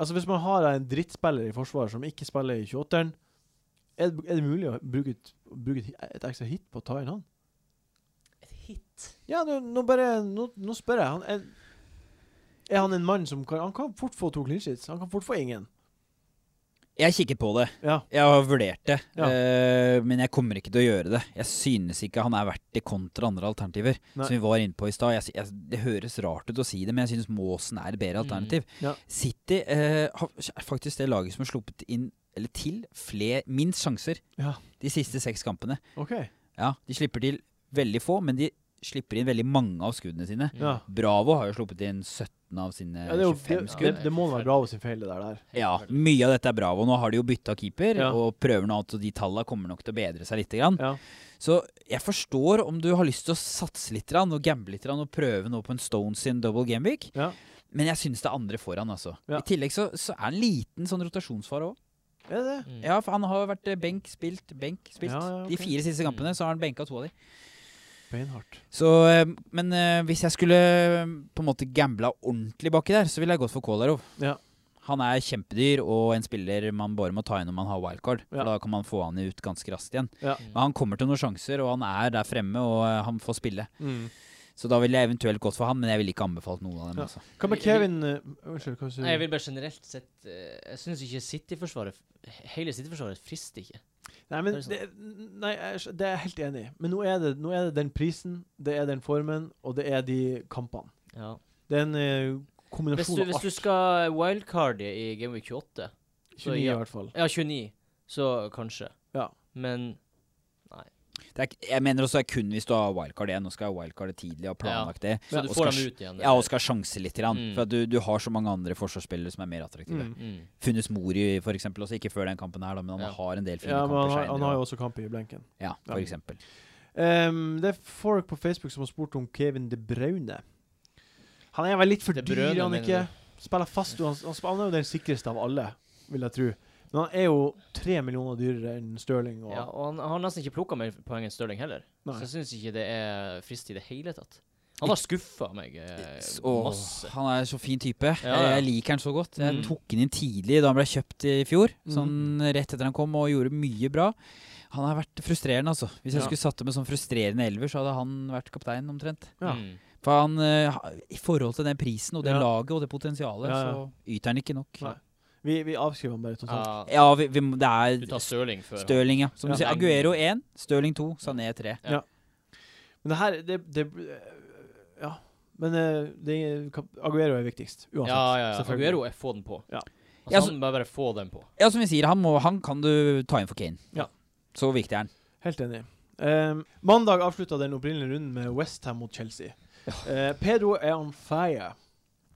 A: Altså, hvis man har en drittspiller i forsvar som ikke spiller i 28-eren, er, det- er det mulig å bruke et, bruke et, et ekstra hit på å ta inn han?
D: Et hit.
A: Ja, nå, nå bare Nå, nå spør jeg. Han er, er han en mann som kan Han kan fort få to clean sheets. Han kan fort få ingen.
B: Jeg kikket på det.
A: Ja.
B: Jeg har vurdert det.
A: Ja.
B: eh, men jeg kommer ikke til å gjøre det. Jeg synes ikke han er verdt det kontra andre alternativer.
A: Nei.
B: Som vi var inne på i stad. Jeg sy- jeg- Det høres rart ut å si det, men jeg synes Måsen er et bedre
D: Mm.
B: alternativ.
A: Ja.
B: City eh, har- er faktisk det laget som har sluppet inn, eller til, fler, minst sjanser
A: Ja.
B: de siste seks kampene.
A: OK.
B: Ja, De slipper til veldig få, men de slipper inn veldig mange av skuddene sine.
D: Mm,
A: Ja.
B: Bravo har jo sluppet inn 17 av
D: Eh,
B: sine
A: Ja, det, er jo,
B: 25
A: det,
B: skudd.
A: det, det må være Bravo sin feil, det der. der.
B: Ja, mye av dette er Bravo. Nå har de jo bytta keeper,
A: Ja.
B: og prøver nå at de tallene kommer nok til å bedre seg litt. Grann.
A: Ja.
B: Så jeg forstår om du har lyst til å satse litt grann, og gamble litt grann, og prøve nå på en Stones sin double gameweek,
A: Ja.
B: men jeg syns det er andre foran, altså.
A: Ja.
B: I tillegg så, så er han liten sånn rotasjonsfare òg.
A: Er det det?
D: Mm.
B: Ja, for han har jo vært eh, benk, spilt, benk, spilt.
A: Ja, ja, ok.
B: De fire siste kampene så har han benka to av de.
A: Beinhardt.
B: Så, eh, men eh, hvis jeg skulle eh, på en måte gambla ordentlig baki der, så ville jeg gått for Kolarov.
A: Ja.
B: Han er kjempedyr og en spiller man bare må ta inn når man har wildcard.
A: Ja.
B: For da kan man få han ut ganske raskt igjen.
A: Ja. Mm.
B: Men han kommer til noen sjanser, og han er der fremme, og eh, han får spille. Så da ville jeg eventuelt gått for han, men jeg ville ikke anbefalt noen av dem.
A: Ja.
B: Altså.
A: Hva med
D: Jeg vil-
A: Kevin eh, Unnskyld, hva sier
D: Nei, jeg
A: du?
D: vil bare generelt sett eh, Jeg syns ikke City-forsvaret Hele City-forsvaret frister ikke.
A: Nei, men
D: Det
A: det, nei, jeg, skj- det er jeg helt enig i. Men nå er, det, nå er det den prisen, det er den formen, og det er de kampene.
D: Ja.
A: Det er en eh,
D: Hvis du,
A: kombinasjon av
D: hvis du
A: alt.
D: skal wildcarde i Game Week 28
A: 29 i
D: ja. Mm.
A: hvert fall.
D: Ja, 29, så kanskje.
A: Ja.
D: Men
B: Det er, ikke- jeg mener også det er kun hvis du har wildcard igjen. Nå skal jeg ha wildcard tidlig og ha planlagt det.
D: Så
A: Ja,
D: du
B: og
D: får
B: skal
D: dem ut igjen.
B: Ja, og skal sjanse litt. Grann,
D: Mm.
B: For at du, du har så mange andre forsvarsspillere som er mer attraktive.
A: Mm.
D: Mm.
B: Funnes Mori, for eksempel, også. Ikke før den kampen her, da, men han
D: Ja.
B: har en del fine
A: Ja, men
B: kamper
A: han, har-
B: senere,
A: han har
B: da.
A: jo også kamp i blenken.
B: Ja, for
A: Ja.
B: eksempel.
A: Ehm, det er folk på Facebook som har spurt om Kevin De Braune. Han er vel litt for
D: De
A: dyr,
D: Bruyne,
A: han
D: mener
A: ikke? Spiller fast, og han, han, sp- han er jo den sikreste av alle, vil jeg tro. Men han er jo tre millioner dyrere enn Stirling. Og,
D: Ja, og han han har nesten ikke plukka mer poeng enn Stirling heller,
A: Nei.
D: så jeg syns ikke det er frist i det hele tatt. Han har skuffa meg eh,
B: S- åh,
D: masse.
B: han er så fin type.
D: ja.
B: Jeg liker han så godt. Jeg
D: Mm.
B: tok han inn tidlig da han ble kjøpt i fjor,
A: Mm.
B: sånn rett etter han kom, og gjorde mye bra. Han har vært frustrerende, altså. Hvis jeg
A: Ja.
B: skulle satt det med sånn frustrerende elver, så hadde han vært kaptein, omtrent.
A: ja.
D: Mm.
B: For han, eh, ha- I forhold til den prisen og det
A: Ja.
B: laget og det potensialet,
A: Ja, ja.
B: så yter han ikke nok.
A: Nei. Vi, vi avskriver han bare totalt.
D: Ja,
B: Ja, vi, vi, må- det
D: du
B: er
D: tar Stirling før. han.
B: Stirling, ja. Som du
A: Ja.
B: sier, Aguero 1, Stirling 2, Sané 3.
A: Men det her det, det, øh, Ja. Men øh, det, Aguero er viktigst, uansett.
D: Ja, ja, ja.
A: selvfølgelig.
D: Aguero, jeg få den på.
A: Ja.
D: Altså,
B: Ja, så-
D: han må bare få den på.
B: Ja, som vi sier, han, må, han kan du ta inn for Kane.
A: Ja.
B: Så viktig er han.
A: Helt enig. Ehm, mandag avslutta den opprinnelige runden med Westham mot Chelsea. Eh, Pedro er on fire,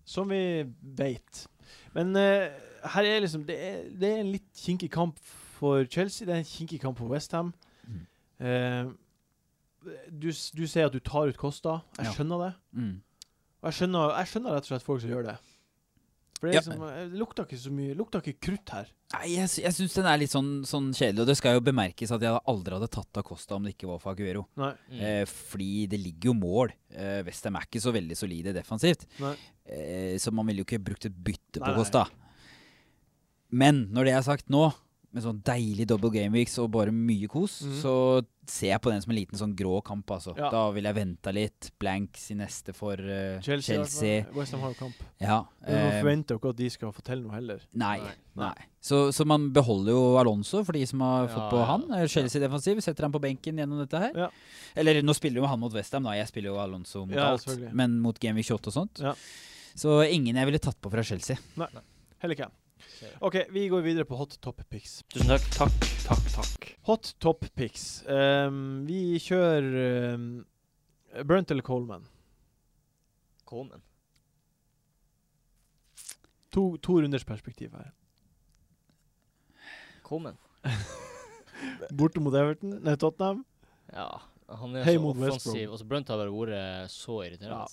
A: som vi veit. Men eh, her er liksom det er, det er en litt kinkig kamp for Chelsea. Det er en kinkig kamp for Westham.
B: Mhm.
A: du, s- du sier at du tar ut Costa. Jeg
B: Ja.
A: skjønner det.
B: Mm.
A: Og jeg skjønner, jeg skjønner rett og slett folk som gjør det. For det, er
B: Ja.
A: liksom, eh, det lukter ikke så mye Det lukter ikke krutt her.
B: Nei, jeg, sy- jeg syns den er litt sånn, sånn kjedelig. Og det skal jo bemerkes at jeg hadde aldri hadde tatt Acosta om det ikke var for Aguero.
A: Nei.
D: Mm.
B: Eh, fordi det ligger jo mål. Eh, Westham er ikke så veldig solide defensivt.
A: Nei.
B: Eh, så man ville jo ikke brukt et bytte
A: Nei, nei.
B: på Costa. Men når det er sagt nå, med sånn deilig double game weeks og bare mye kos,
A: Mhm.
B: så ser jeg på den som en liten sånn grå kamp, altså.
A: Ja.
B: Da vil jeg venta litt. Blanks i neste for eh, Chelsea.
A: altså. Westham har jo kamp.
B: Ja.
A: Men man
B: eh,
A: forventer jo ikke at de skal fortelle noe heller.
B: Nei.
D: Nei.
B: nei. Så, så man beholder jo Alonso for de som har fått
D: Ja,
B: på
D: ja.
B: han. Eh, Chelsea defensiv setter han på benken gjennom dette her.
A: Ja.
B: Eller nå spiller jo han mot Westham, da. Jeg spiller jo Alonso mot
A: Ja,
B: alt.
A: selvfølgelig.
B: Men mot Game Week 28 og sånt.
A: Ja.
B: Så ingen jeg ville tatt på fra Chelsea.
A: Heller ikke.
D: Ser det.
A: OK, vi går videre på hot top picks.
D: Tusen takk. Takk, takk, takk.
A: Hot top picks. Ehm, vi kjører um, Brunt eller Coleman.
D: Coleman.
A: To, to runders perspektiv her.
D: Coleman.
A: Borte mot Everton, nei, Tottenham.
D: Ja. Han er
A: Hei
D: så
A: mot West Brom.
D: offensiv. Og så Brunt har bare vært eh, så irriterende.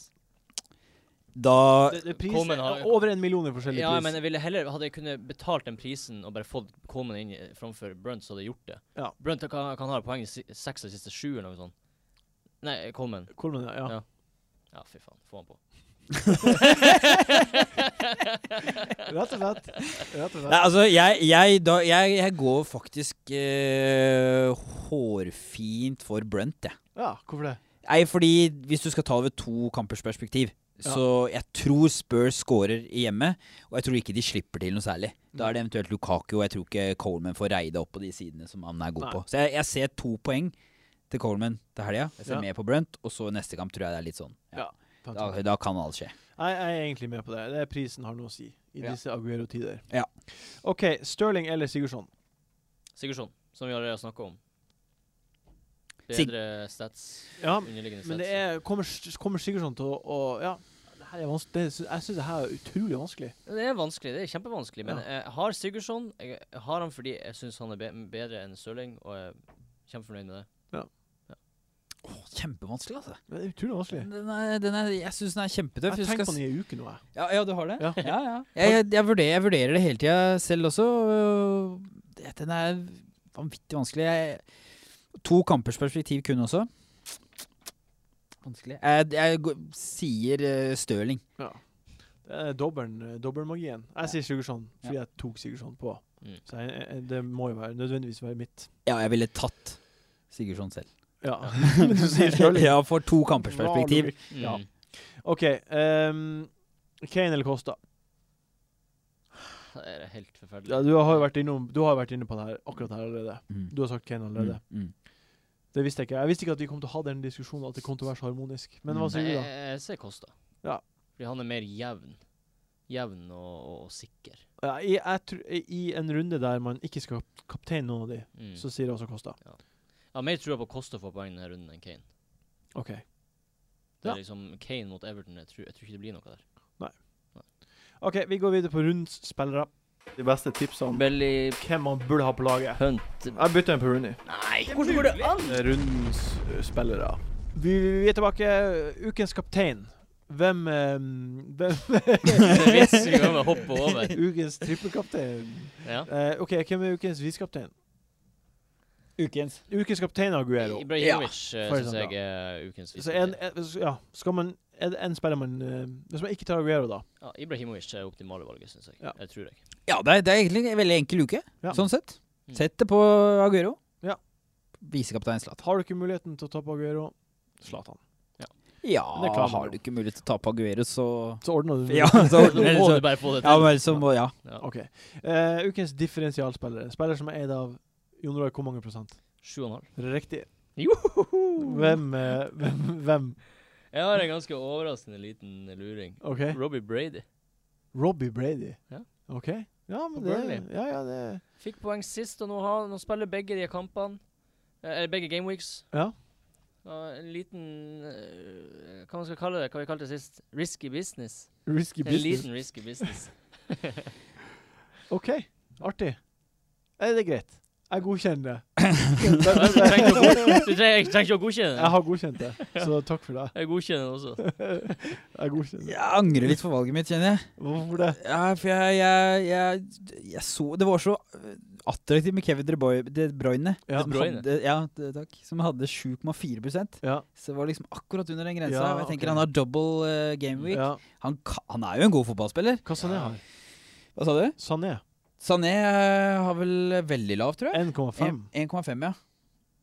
B: Da
A: Det, det er pris,
D: Coleman har-
A: over en million i forskjellig
D: Ja,
A: pris.
D: men jeg ville heller Hadde jeg kunnet betalt den prisen og bare fått Coleman inn i- framfor Brunt, så hadde jeg gjort det.
A: Ja.
D: Brunt kan, kan ha poeng i si- seks av de siste sju, eller noe sånt. Nei, Coleman.
A: Coleman, ja. ja.
D: Ja. Ja, fy faen. Få
A: <laughs>
D: han på.
A: Rett og slett. Rett og slett.
B: Nei, altså, jeg, jeg, da, jeg, jeg går faktisk eh, hårfint for Brunt, jeg.
A: Ja, hvorfor det?
B: Nei, fordi hvis du skal ta det ved to kampers perspektiv
A: Ja.
B: Så jeg tror Spurs scorer i hjemmet, og jeg tror ikke de slipper til noe særlig. Da er det eventuelt Lukaku, og jeg tror ikke Coleman får reida opp på de sidene som han er god
A: Nei.
B: på. Så jeg, jeg ser to poeng til Coleman til helga. Jeg ser
A: Ja.
B: med på Brunt, og så neste kamp tror jeg det er litt sånn.
A: Ja.
B: Da, da kan alt skje.
A: Jeg, jeg er egentlig med på det. Det er prisen har noe å si i
B: Ja.
A: disse Aguero-tider.
B: Ja.
A: OK, Stirling eller Sigurdsson?
D: Sigurdsson, som vi allerede har snakka om.
B: Sig-
D: Bedre stats.
A: Ja,
D: Underliggende stats.
A: Men det er, kommer, kommer Sigurdsson til å, å Ja, det her er vanskelig. Det, sy- jeg syns det her er utrolig vanskelig.
D: Det er vanskelig. Det er kjempevanskelig. Men
A: Ja.
D: jeg har Sigurdsson. Jeg har han fordi jeg syns han er be bedre enn Stirling, og jeg er kjempefornøyd med det.
B: Åh, kjempevanskelig, altså.
A: Det er utrolig vanskelig.
B: Den er, den er, jeg syns den er
A: Jeg
B: kjempetøff.
A: har
B: Du
A: tenkt
B: skal
A: på
B: s-
A: den i ei uke nå, jeg.
B: Ja, ja, du har det?
A: Ja.
B: <laughs> ja. ja. Jeg, jeg, jeg, vurderer, jeg vurderer det hele tida selv også. og det- Den er vanvittig vanskelig. Jeg, to kampers perspektiv kun også. Vanskelig. Jeg, jeg går- sier uh, Stirling.
A: Ja. Det er dobbelen, eh, dobbelmagien. Jeg sier Sigurdsson fordi jeg tok Sigurdsson på.
D: Mm.
A: Så jeg, jeg, det må jo være, nødvendigvis være mitt.
B: Ja, jeg ville tatt Sigurdsson selv.
A: Ja. <laughs> Men du sier selv
B: <laughs> ja, for to kampers perspektiv.
D: Mm.
A: Ja. OK. ehm, Kane eller Costa?
D: Det er helt forferdelig.
A: Ja, du har jo vært innom, du har jo vært inne på det her, akkurat det her allerede.
B: Mm.
A: Du har sagt Kane allerede.
B: Mm. Mm.
A: Det visste jeg ikke. Jeg visste ikke at vi kom til å ha den diskusjonen, at det kom til å være så harmonisk. Men hva
B: Mm.
A: sier du,
D: Nei,
A: da?
D: Altså, jeg- jeg ser Kosta.
A: Ja.
D: Fordi han er mer jevn. Jevn og, og, og sikker.
A: Ja, I, jeg tror- I en runde der man ikke skal kapteine noen av de,
D: Mm.
A: så sier jeg også Costa.
D: Jeg har mer trua på Kosta får poeng denne runden enn Kane.
A: OK.
D: Det er
A: Ja.
D: liksom Kane mot Everton. Jeg tror, jeg tror ikke det blir noe der.
A: Ok, Vi går videre på rundens spillere. De beste tipsene om
D: Belly
A: hvem man burde ha på laget.
D: Hunt
A: Jeg bytter en på Rooney.
D: Nei, hvordan går det an?
A: Rundens ø, spillere. Vi, vi er tilbake. Ukens kaptein. Hvem, em, <laughs> hvem
D: <laughs> Det er vits vi kan hoppe over.
A: Ukens trippelkaptein.
D: Ja.
A: Eh, OK, hvem er ukens visekaptein?
B: Ukens.
A: Ukens kaptein Aguero.
D: Ibrahimovic ja,
A: for
D: syns
A: eksempel,
D: jeg er ukens
A: Så en, en, så- ja, skal man er det en spiller man eh, Hvis man ikke tar Aguero, da.
D: Ja, Ibrahimovic er optimale valget, syns jeg.
A: Ja.
D: Jeg tror
A: <laughs>
D: jeg.
B: Ja, det er, det er egentlig en veldig enkel uke,
A: Ja.
B: sånn sett.
D: Mm.
B: Sett det på Aguero.
A: Ja.
B: Visekaptein Zlatan.
A: Har du ikke muligheten til å ta på Aguero, Zlatan.
B: Ja,
A: det klarer man
B: har
A: jo.
B: du ikke mulighet til å ta på Aguero, så
A: <laughs> Så ordner du det.
B: Ja, så,
D: Nå må du bare få det
B: ja
D: til.
B: men så må Ja.
D: Ja.
A: OK. Eh, ukens differensialspiller. En Spiller som er eid av Jon Roar, hvor mange prosent?
D: Sju og en halv.
A: Riktig.
D: Johoho!
A: Hvem, eh, hvem, hvem?
D: Jeg har en ganske overraskende liten luring.
A: OK.
D: Robbie Brady
A: Robbie Brady.
D: Ja.
A: OK. Ja, men
D: Og
A: det
D: Burnley.
A: Ja, ja, det
D: fikk poeng sist, og nå, har, nå spiller begge de kampene. eh, Eller begge gameweeks.
A: Ja.
D: Og en liten eh, Hva man skal kalle det? Hva vi kalte det sist? Risky business.
A: Risky
D: En
A: business.
D: liten risky
A: <laughs>
D: business.
A: OK. Artig. Er det er greit? Jeg godkjenner <laughs> det.
D: Altså, Du trenger ikke å god- du trenger- jeg trenger ikke å godkjenne
A: Jeg
D: den.
A: har godkjent det, så takk for det.
D: Jeg godkjenner
A: <laughs>
D: den også.
A: Jeg godkjenner det.
B: Jeg angrer litt på valget mitt, kjenner jeg.
A: Hvorfor det?
B: Ja, for jeg, jeg, jeg, jeg så Det var så øh, attraktivt med Kevin De Bruyne. De Bruyne
A: Ja.
B: som
D: De Bruyne.
B: Hadde, ja, det- takk. Som hadde 7,4
A: Ja.
B: Så det var liksom akkurat under den grensa.
A: Ja,
B: og jeg tenker
A: ok.
B: Han har double øh, game week.
A: ja.
B: Han, ka- han er jo en god fotballspiller.
A: Hva Sané har?
B: Hva sa du?
A: Sané.
B: Sané øh, har vel veldig lav, tror jeg.
A: 1,5.
B: 1,5, ja.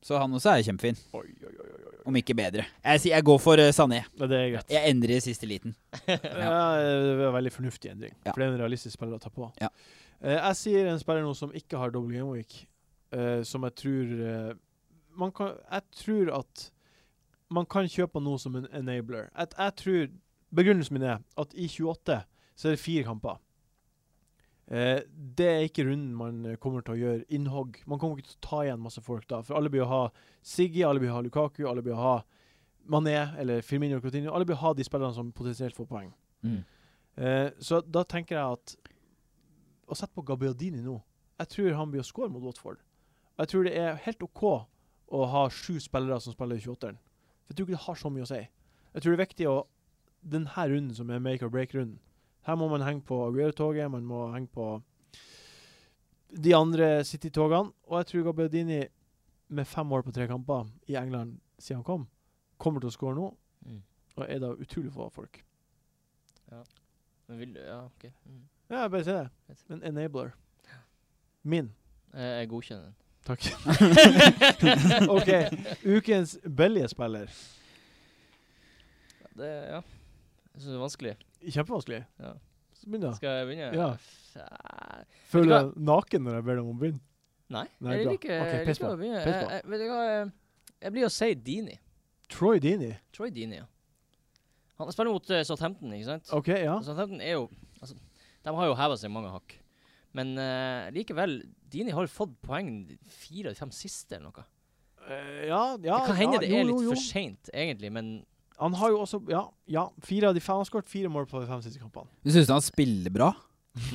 B: Så han også er kjempefin.
A: Oi, oi, oi, oi, oi.
B: Om ikke bedre. Jeg, sier jeg går for øh, Sané.
A: Ja, Det er greit.
B: Jeg endrer i siste liten.
A: Ja, det var en veldig fornuftig endring.
B: Ja.
A: For det er en realistisk spiller å ta på.
B: Ja.
A: Eh, jeg sier en spiller nå som ikke har double game week, eh, som jeg tror eh, man kan, Jeg tror at man kan kjøpe noe som en enabler. At jeg tror Begrunnelsen min er at i 28 så er det fire kamper. Eh, det er ikke runden man eh, kommer til å gjøre innhogg. Man kommer ikke til å ta igjen masse folk da. For alle blir å ha Siggy, alle blir å ha Lukaku, alle blir å ha Mané eller Firmino og Coutinho. Alle blir å ha de spillerne som potensielt får poeng.
B: Mm.
A: Eh, så da tenker jeg at Å sette på Gabbiadini nå Jeg tror han blir å score mot Watford. Og jeg tror det er helt OK å ha sju spillere som spiller i 28-eren. For jeg tror ikke det har så mye å si. Jeg tror det er viktig å Denne runden som er make or break-runden Her må man henge på Aguero-toget, man må henge på de andre City-togene. Og jeg tror Gabbiadini, med fem år på tre kamper i England siden han kom, kommer til å score nå,
D: Mm.
A: og er da utrolig få folk.
D: Men vil du Ja, OK. Mm.
A: Ja, jeg bare sier det.
D: Fett.
A: En enabler. Min.
D: Jeg, jeg godkjenner
A: <laughs>
D: den.
A: Takk. OK. Ukens Belje-spiller.
D: Det, ja. Jeg syns det er vanskelig.
A: Kjempevanskelig.
D: Ja.
A: Så begynn, da.
D: Skal jeg begynne?
A: Ja.
D: Fæ-
A: Føler du
D: Vet du
A: deg naken når jeg ber deg om å begynne?
D: Nei,
A: Nei,
D: jeg
A: bra.
D: liker,
A: Ok,
D: jeg
A: piss
D: liker
A: på.
D: å begynne.
A: Piss
D: Jeg,
A: på.
D: jeg, vet du hva, jeg- jeg blir å si Dini.
A: Troy Dini.
D: Troy Dini, ja. Han spiller mot eh, Southampton, ikke sant?
A: OK, ja.
D: Og Southampton er jo altså, De har jo heva seg mange hakk. Men eh, likevel, Dini har jo fått poeng de fire av de fem siste, eller noe.
A: Eh, ja, ja.
D: det kan hende
A: ja,
D: det er
A: jo,
D: litt
A: jo, jo.
D: for seint, egentlig, men
A: Han har jo også Ja, ja. Fire av de fem, han har skåret fire mål på de fem siste kampene.
B: Du syns han spiller
A: <laughs>
B: bra?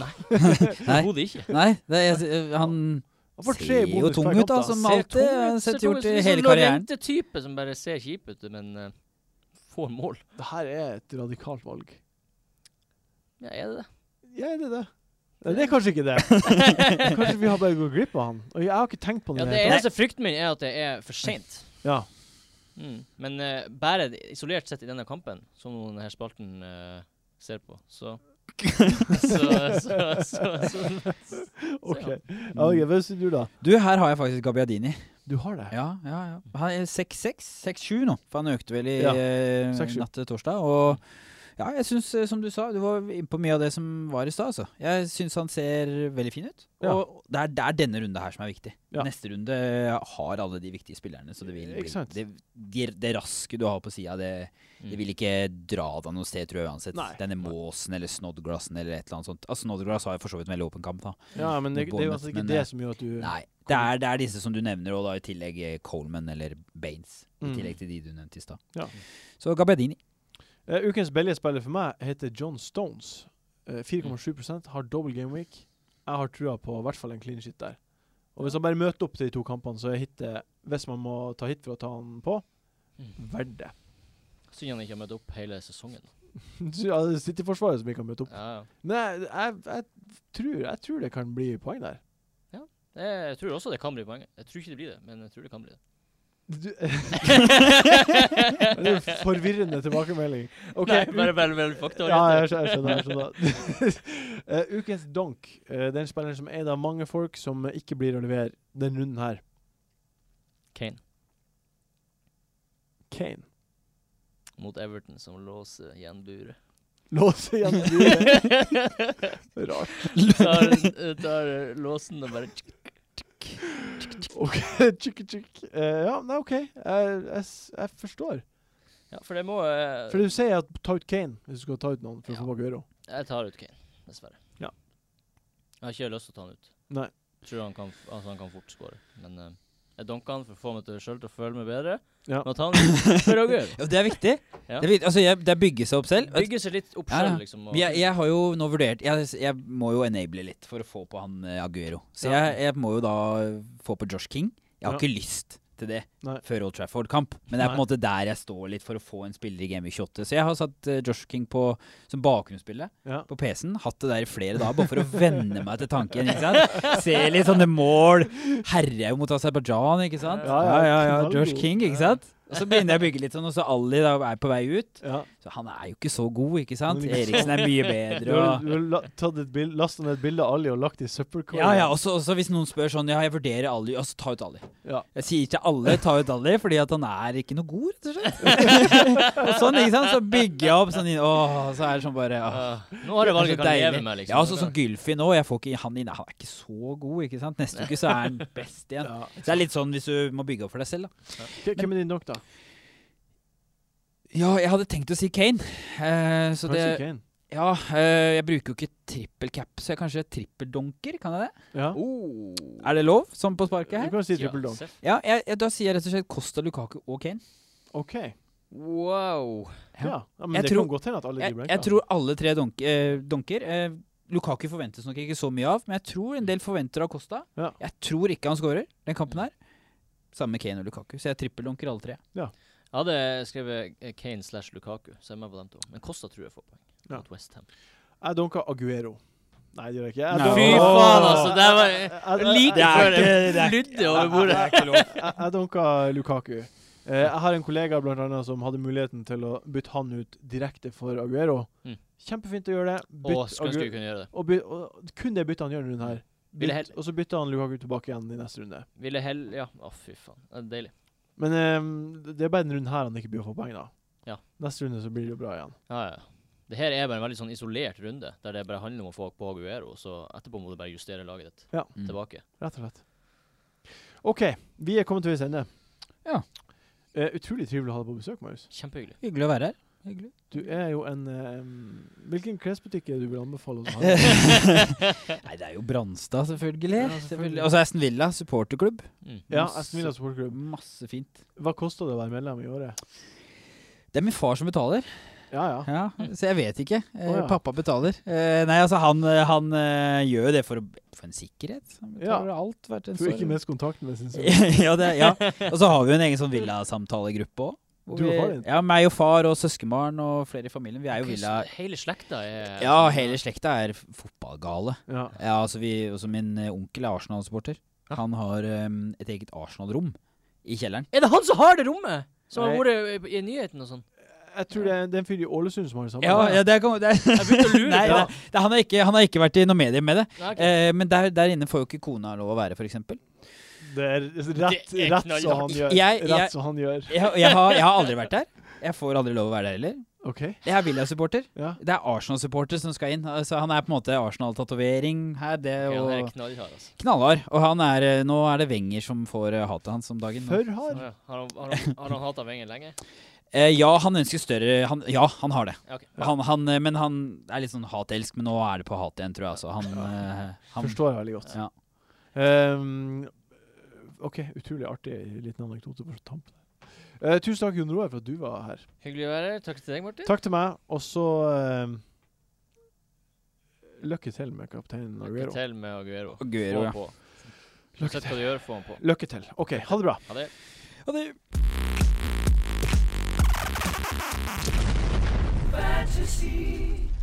B: Nei.
D: overhodet ikke.
B: Nei, det, jeg, han
A: Han får tre
B: ser jo
A: bonus per
B: tung
A: kamp,
B: ut, da,
A: da.
B: som
D: Ser
B: alltid.
D: tung ut,
B: Han har
D: ser
B: sett
D: tung
B: gjort
D: ut,
B: i
D: som
B: hele
D: sånn
B: karrieren.
D: Lorente-type som bare ser kjip ut, men eh, får mål.
A: Det her er et radikalt valg.
D: Ja, er det det?
A: Ja, er det det? Nei, det er kanskje ikke det. kanskje vi har bare gått glipp av han. Og jeg har ikke tenkt på
D: Ja,
A: det.
D: det
A: i hele tatt.
D: eneste frykten min er at det er for seint.
A: ja.
D: Mm.
A: <laughs>
D: Men eh, bare isolert sett i denne kampen, som denne spalten eh, ser på, så Så, så, så, så.
A: OK. Ja, ok, Hva sier du, da?
B: Du, her har jeg faktisk Gabbiadini.
A: Du har det?
B: Ja, ja, ja. Han er 6-6, 6-7 nå, for han økte vel i
A: Ja,
B: eh,
A: 6-7.
B: natt til torsdag. Og ja, jeg syns, eh, som du sa, du var inne på mye av det som var i stad, altså. Jeg syns han ser veldig fin ut.
A: Ja.
B: Og det er, det er denne runde her som er viktig.
A: Ja.
B: Neste runde har alle de viktige spillerne, så det vil
A: Ikke
B: bli
A: sant?
B: det, det, det raske du har på sida, det, det
D: Mm.
B: vil ikke dra deg noe sted, tror jeg uansett.
A: Mm. Nei.
B: Denne måsen eller Snodgrassen eller et eller annet sånt. Altså, Snodgrass har jo for så vidt en veldig åpen kamp, da.
A: Ja, men det, det er jo altså
B: Bournemouth,
A: ikke
B: men,
A: det
B: eh,
A: som gjør at du
B: Nei. Det er, det er disse som du nevner, og da i tillegg eh, Coleman eller Baines. I
A: Mm.
B: tillegg til de du nevnte i stad.
A: Ja.
B: Så
A: <laughs>
B: Gabbiadini.
A: Eh, ukens billige spiller for meg heter John Stones. Eh, 4,7 har double game week. Jeg har trua på i hvert fall en clean shit der. Og hvis han bare møter opp til de to kampene, så er hitet, hvis man må ta hit for å ta han på,
D: Mm.
A: verdt det. <laughs>
D: Synd han ikke har møtt opp hele sesongen.
A: Så, ja, det sitter i forsvaret som ikke kan møte opp.
D: Ja, ja.
A: Men jeg, jeg, jeg, tror, jeg tror det kan bli poeng der.
D: Det- Eh, Jeg tror også det kan bli poenget. Jeg tror ikke det blir det, men jeg tror det kan bli det. <laughs>
A: Du, det er en forvirrende tilbakemelding. Ok,
D: Nei, bare bare, bare
A: Ja, jeg skjønner. Jeg skjønner, <laughs> jeg skjønner. Eh, ukens donk. eh, den spilleren som er eid av mange folk, som ikke blir å levere den runden her.
D: Kane
A: Kane.
D: mot Everton som låser igjen buret.
A: Lås
B: <laughs>
A: igjen buret. Rart.
D: <laughs> tar, tar låsen og bare
A: Ok, <laughs> tjukk, tjukk. Eh, ja, nei, OK. Jeg, jeg, s- jeg forstår.
D: Ja, for det må eh,
A: For du sier at ta ut Kane hvis du skal ta ut noen for å få
D: Ja.
A: bak Euro.
D: Jeg tar ut Kane, dessverre.
A: Ja.
D: Jeg har ikke lyst til å ta han ut.
A: Nei.
D: Tror han kan, altså han kan fort skåre. Men eh, jeg dunker han for å få meg til selv til å føle meg bedre.
A: Ja.
D: Men å ta han ut for å gjøre.
B: Ja, det er viktig.
D: Ja.
B: Det, er viktig. Altså, jeg, det er bygge seg opp selv. Vet-
D: Bygge seg litt opp
B: Ja, ja.
D: selv, liksom. Og,
B: Jeg, jeg har jo nå vurdert jeg, jeg må jo enable litt for å få på han eh, Aguero. Så
A: Ja.
B: jeg, jeg må jo da få på Josh King. Jeg har
A: Ja.
B: ikke lyst til det
A: Nei.
B: før Old Trafford-kamp, men det er på en
A: Nei.
B: måte der jeg står litt for å få en spiller i Game Week 28. Så jeg har satt eh, Josh King på, som bakgrunnsspiller.
A: Ja.
B: på PC-en, hatt det der i flere dager, bare for å venne meg til tanken. ikke sant? Se litt sånne mål. Herjer jo mot Aserbajdsjan, ikke sant?
A: Ja, ja, knallgod.
B: Josh King, ikke sant? Og så begynner jeg å bygge litt sånn, og så Ali da er på vei ut.
A: Ja.
B: Så han er jo ikke så god, ikke sant?
A: Han er ikke så-
B: Eriksen er mye
A: Du
B: bedre.
A: har,
B: og...
A: du har la, tatt et bild, lastet ned et bilde av Ali og lagt det i søppelkorgen.
B: Ja, ja, også, også hvis noen spør sånn, ja, jeg vurderer Ali, altså ta ut Ali.
A: Ja.
B: Jeg sier ikke alle, ta ut Ali, fordi at han er ikke noe god, rett og slett.
A: <laughs>
B: og sånn, ikke sant? Så bygger jeg opp sånn, inn- åh, så er det sånn bare, åh.
D: Ah, nå har jeg valget jeg kan leve med, liksom.
B: Ja, altså som Gylfi nå, jeg får ikke, han, inn- han er ikke så god, ikke sant? Neste uke så er han best <laughs> igjen.
A: Ja.
B: Så det er litt sånn hvis du må bygge opp for deg selv, da.
A: K- Hvem er din donk, da?
B: Ja, jeg hadde tenkt å si Kane. eh, så
A: Kanskje
B: det,
A: Kane?
B: ja, eh, jeg bruker jo ikke trippel cap, så jeg kanskje trippeldonker, kan jeg det?
A: Ja.
B: Er det lov, sånn på
A: Du
B: sparket her?
A: kan jo si trippel donk.
D: Oh. seff.
B: Ja, jeg, jeg, da sier jeg rett og slett Costa Lukaku og Kane.
A: OK.
D: Wow.
B: Ja.
A: Ja. ja men
B: Jeg
A: det
B: tror-
A: kan godt hende at alle de altså.
B: Jeg,
A: blanker.
B: jeg tror alle tre donk, eh, donker. Eh, Lukaku forventes nok ikke så mye av, men jeg tror en del forventer av Costa.
A: Ja.
B: Jeg tror ikke han scorer den kampen her. Sammen med Kane og Lukaku, så jeg trippeldonker alle tre.
D: Jeg hadde skrevet eh, Kane slash Lukaku, så jeg er med på dem to. Men Kosta tror jeg får poeng.
A: Ja.
D: Mot West Ham.
A: Jeg dunka Aguero. Nei, det gjør jeg ikke. Jeg
B: Nei.
A: dunka-
B: Fy
D: faen, altså, det var-
A: Jeg- jeg- jeg-
D: Like
A: jeg-
D: før det
B: ikke- det er-
D: fludde over bordet.
A: Jeg jeg dunka Lukaku. Eh, jeg har en kollega blant annet, som hadde muligheten til å bytte han ut direkte for Aguero.
D: Mm.
A: Kjempefint å gjøre det.
D: Å, skulle ønske vi
A: Aguero,
D: kunne gjøre det.
A: og, by, og kun det bytta han gjør denne runden her.
D: Ville
A: Bytt,
D: hel-
A: og så bytta han Lukaku tilbake igjen i neste runde.
D: Ville hell... Ja, å fy faen. Det er deilig.
A: Men eh, det er bare denne runden her han ikke blir å få poeng, da.
D: Ja.
A: Neste runde så blir det jo bra igjen.
D: Ja, ja. Det her er bare en veldig sånn isolert runde, der det bare handler om å få på Aguero, og så etterpå må du bare justere laget ditt
B: Mm.
D: tilbake.
A: Rett og slett. OK, vi er kommet til veis ende.
B: Ja.
A: Eh, utrolig trivelig å ha deg på besøk, Marius.
D: Kjempehyggelig.
B: Hyggelig å være her. Hyggelig.
A: Du er jo en eh, Hvilken klesbutikk er det du vil anbefale
B: <laughs>
A: oss å ha?
E: <laughs>
B: Nei, det er jo Branstad, selvfølgelig.
A: Ja, selvfølgelig.
B: selvfølgelig.
E: altså,
B: Og så Aston Villa, supporterklubb.
D: Mm.
A: Ja,
B: Masse-
A: Aston Villa supporterklubb.
B: Masse fint.
A: Hva koster det å være medlem i året?
B: Det er min far som betaler.
A: Ja, ja.
B: Ja, så jeg vet ikke. Eh,
A: Å, ja.
B: Pappa betaler. Eh, nei, altså han, eh, han eh, gjør jo det for, å- for en sikkerhet. Han
A: Ja.
B: betaler alt hvert eneste
A: Du er ikke
B: år.
A: mest kontakten med, syns jeg.
B: <laughs> ja, det, ja. Og så har vi jo en egen sånn villasamtalegruppe òg.
A: Du og far din?
B: Ja, meg og far og søskenbarn og flere i familien. Vi er jo
D: Ok,
B: villa...
D: så Hele slekta er
B: Ja, hele slekta er f- fotballgale.
A: Ja.
B: Ja, altså vi, også Min eh, onkel er Arsenal-supporter.
D: Ja.
B: Han har em, et eget Arsenal-rom i kjelleren.
D: Er det han som har det rommet? Som har
A: Nei.
D: vært i- i nyheten og sånn?
A: jeg tror det er, det er en fyr i Ålesund som har det samme.
E: Ja, ja, det, kan, det, er,
D: Jeg begynte å lure.
E: <laughs> nei, det,
D: ja.
E: er- det, er- han, har ikke, han har ikke vært i noe medier med det.
D: Nei, ok.
E: Eh, men der, der inne får jo ikke kona lov å være, f.eks.
A: Det er rett,
D: Det er
A: rett
D: knallhardt.
A: som han gjør.
E: Jeg- jeg-
A: rett som han gjør.
E: Jeg, jeg, har, jeg har aldri vært der. Jeg får aldri lov å være der heller.
A: OK.
E: Jeg er Villa-supporter.
A: Ja.
E: Det er Arsenal-supporter som skal inn. Altså, han er på en måte Arsenal-tatovering her. Det,
D: Ok, han er
E: og
D: knallhard, altså.
E: knallhard. Og han er, eh, nå er det Wenger som får eh, hatet hans om dagen.
A: For
D: Å
A: hard.
D: ja. Har han, har han, har han hata Wenger lenge?
E: Eh, ja, han ønsker større han, Ja, han har det.
D: Ja, ok.
E: Han, han, eh, men han er litt sånn hatelsk, men nå er det på hat igjen, tror jeg. Altså. Han, eh, han,
A: Forstår jeg veldig godt.
E: Ja.
A: Ehm, OK, utrolig artig liten anekdote på tampen. Eh, tusen takk, Jon Roar, for at du var her.
D: Hyggelig å være her. Takk til deg, Martin.
A: Takk til meg, og så ehm, Lykke til med kapteinen
D: Lykke
A: Aguero.
D: til med Aguero.
E: Aguero, ja.
D: Få han på.
A: Lykke
D: Uansett hva du gjør, få han på.
A: Lykke til. OK, ha det bra.
D: Ha det.
E: Ja, det-
F: fantasy.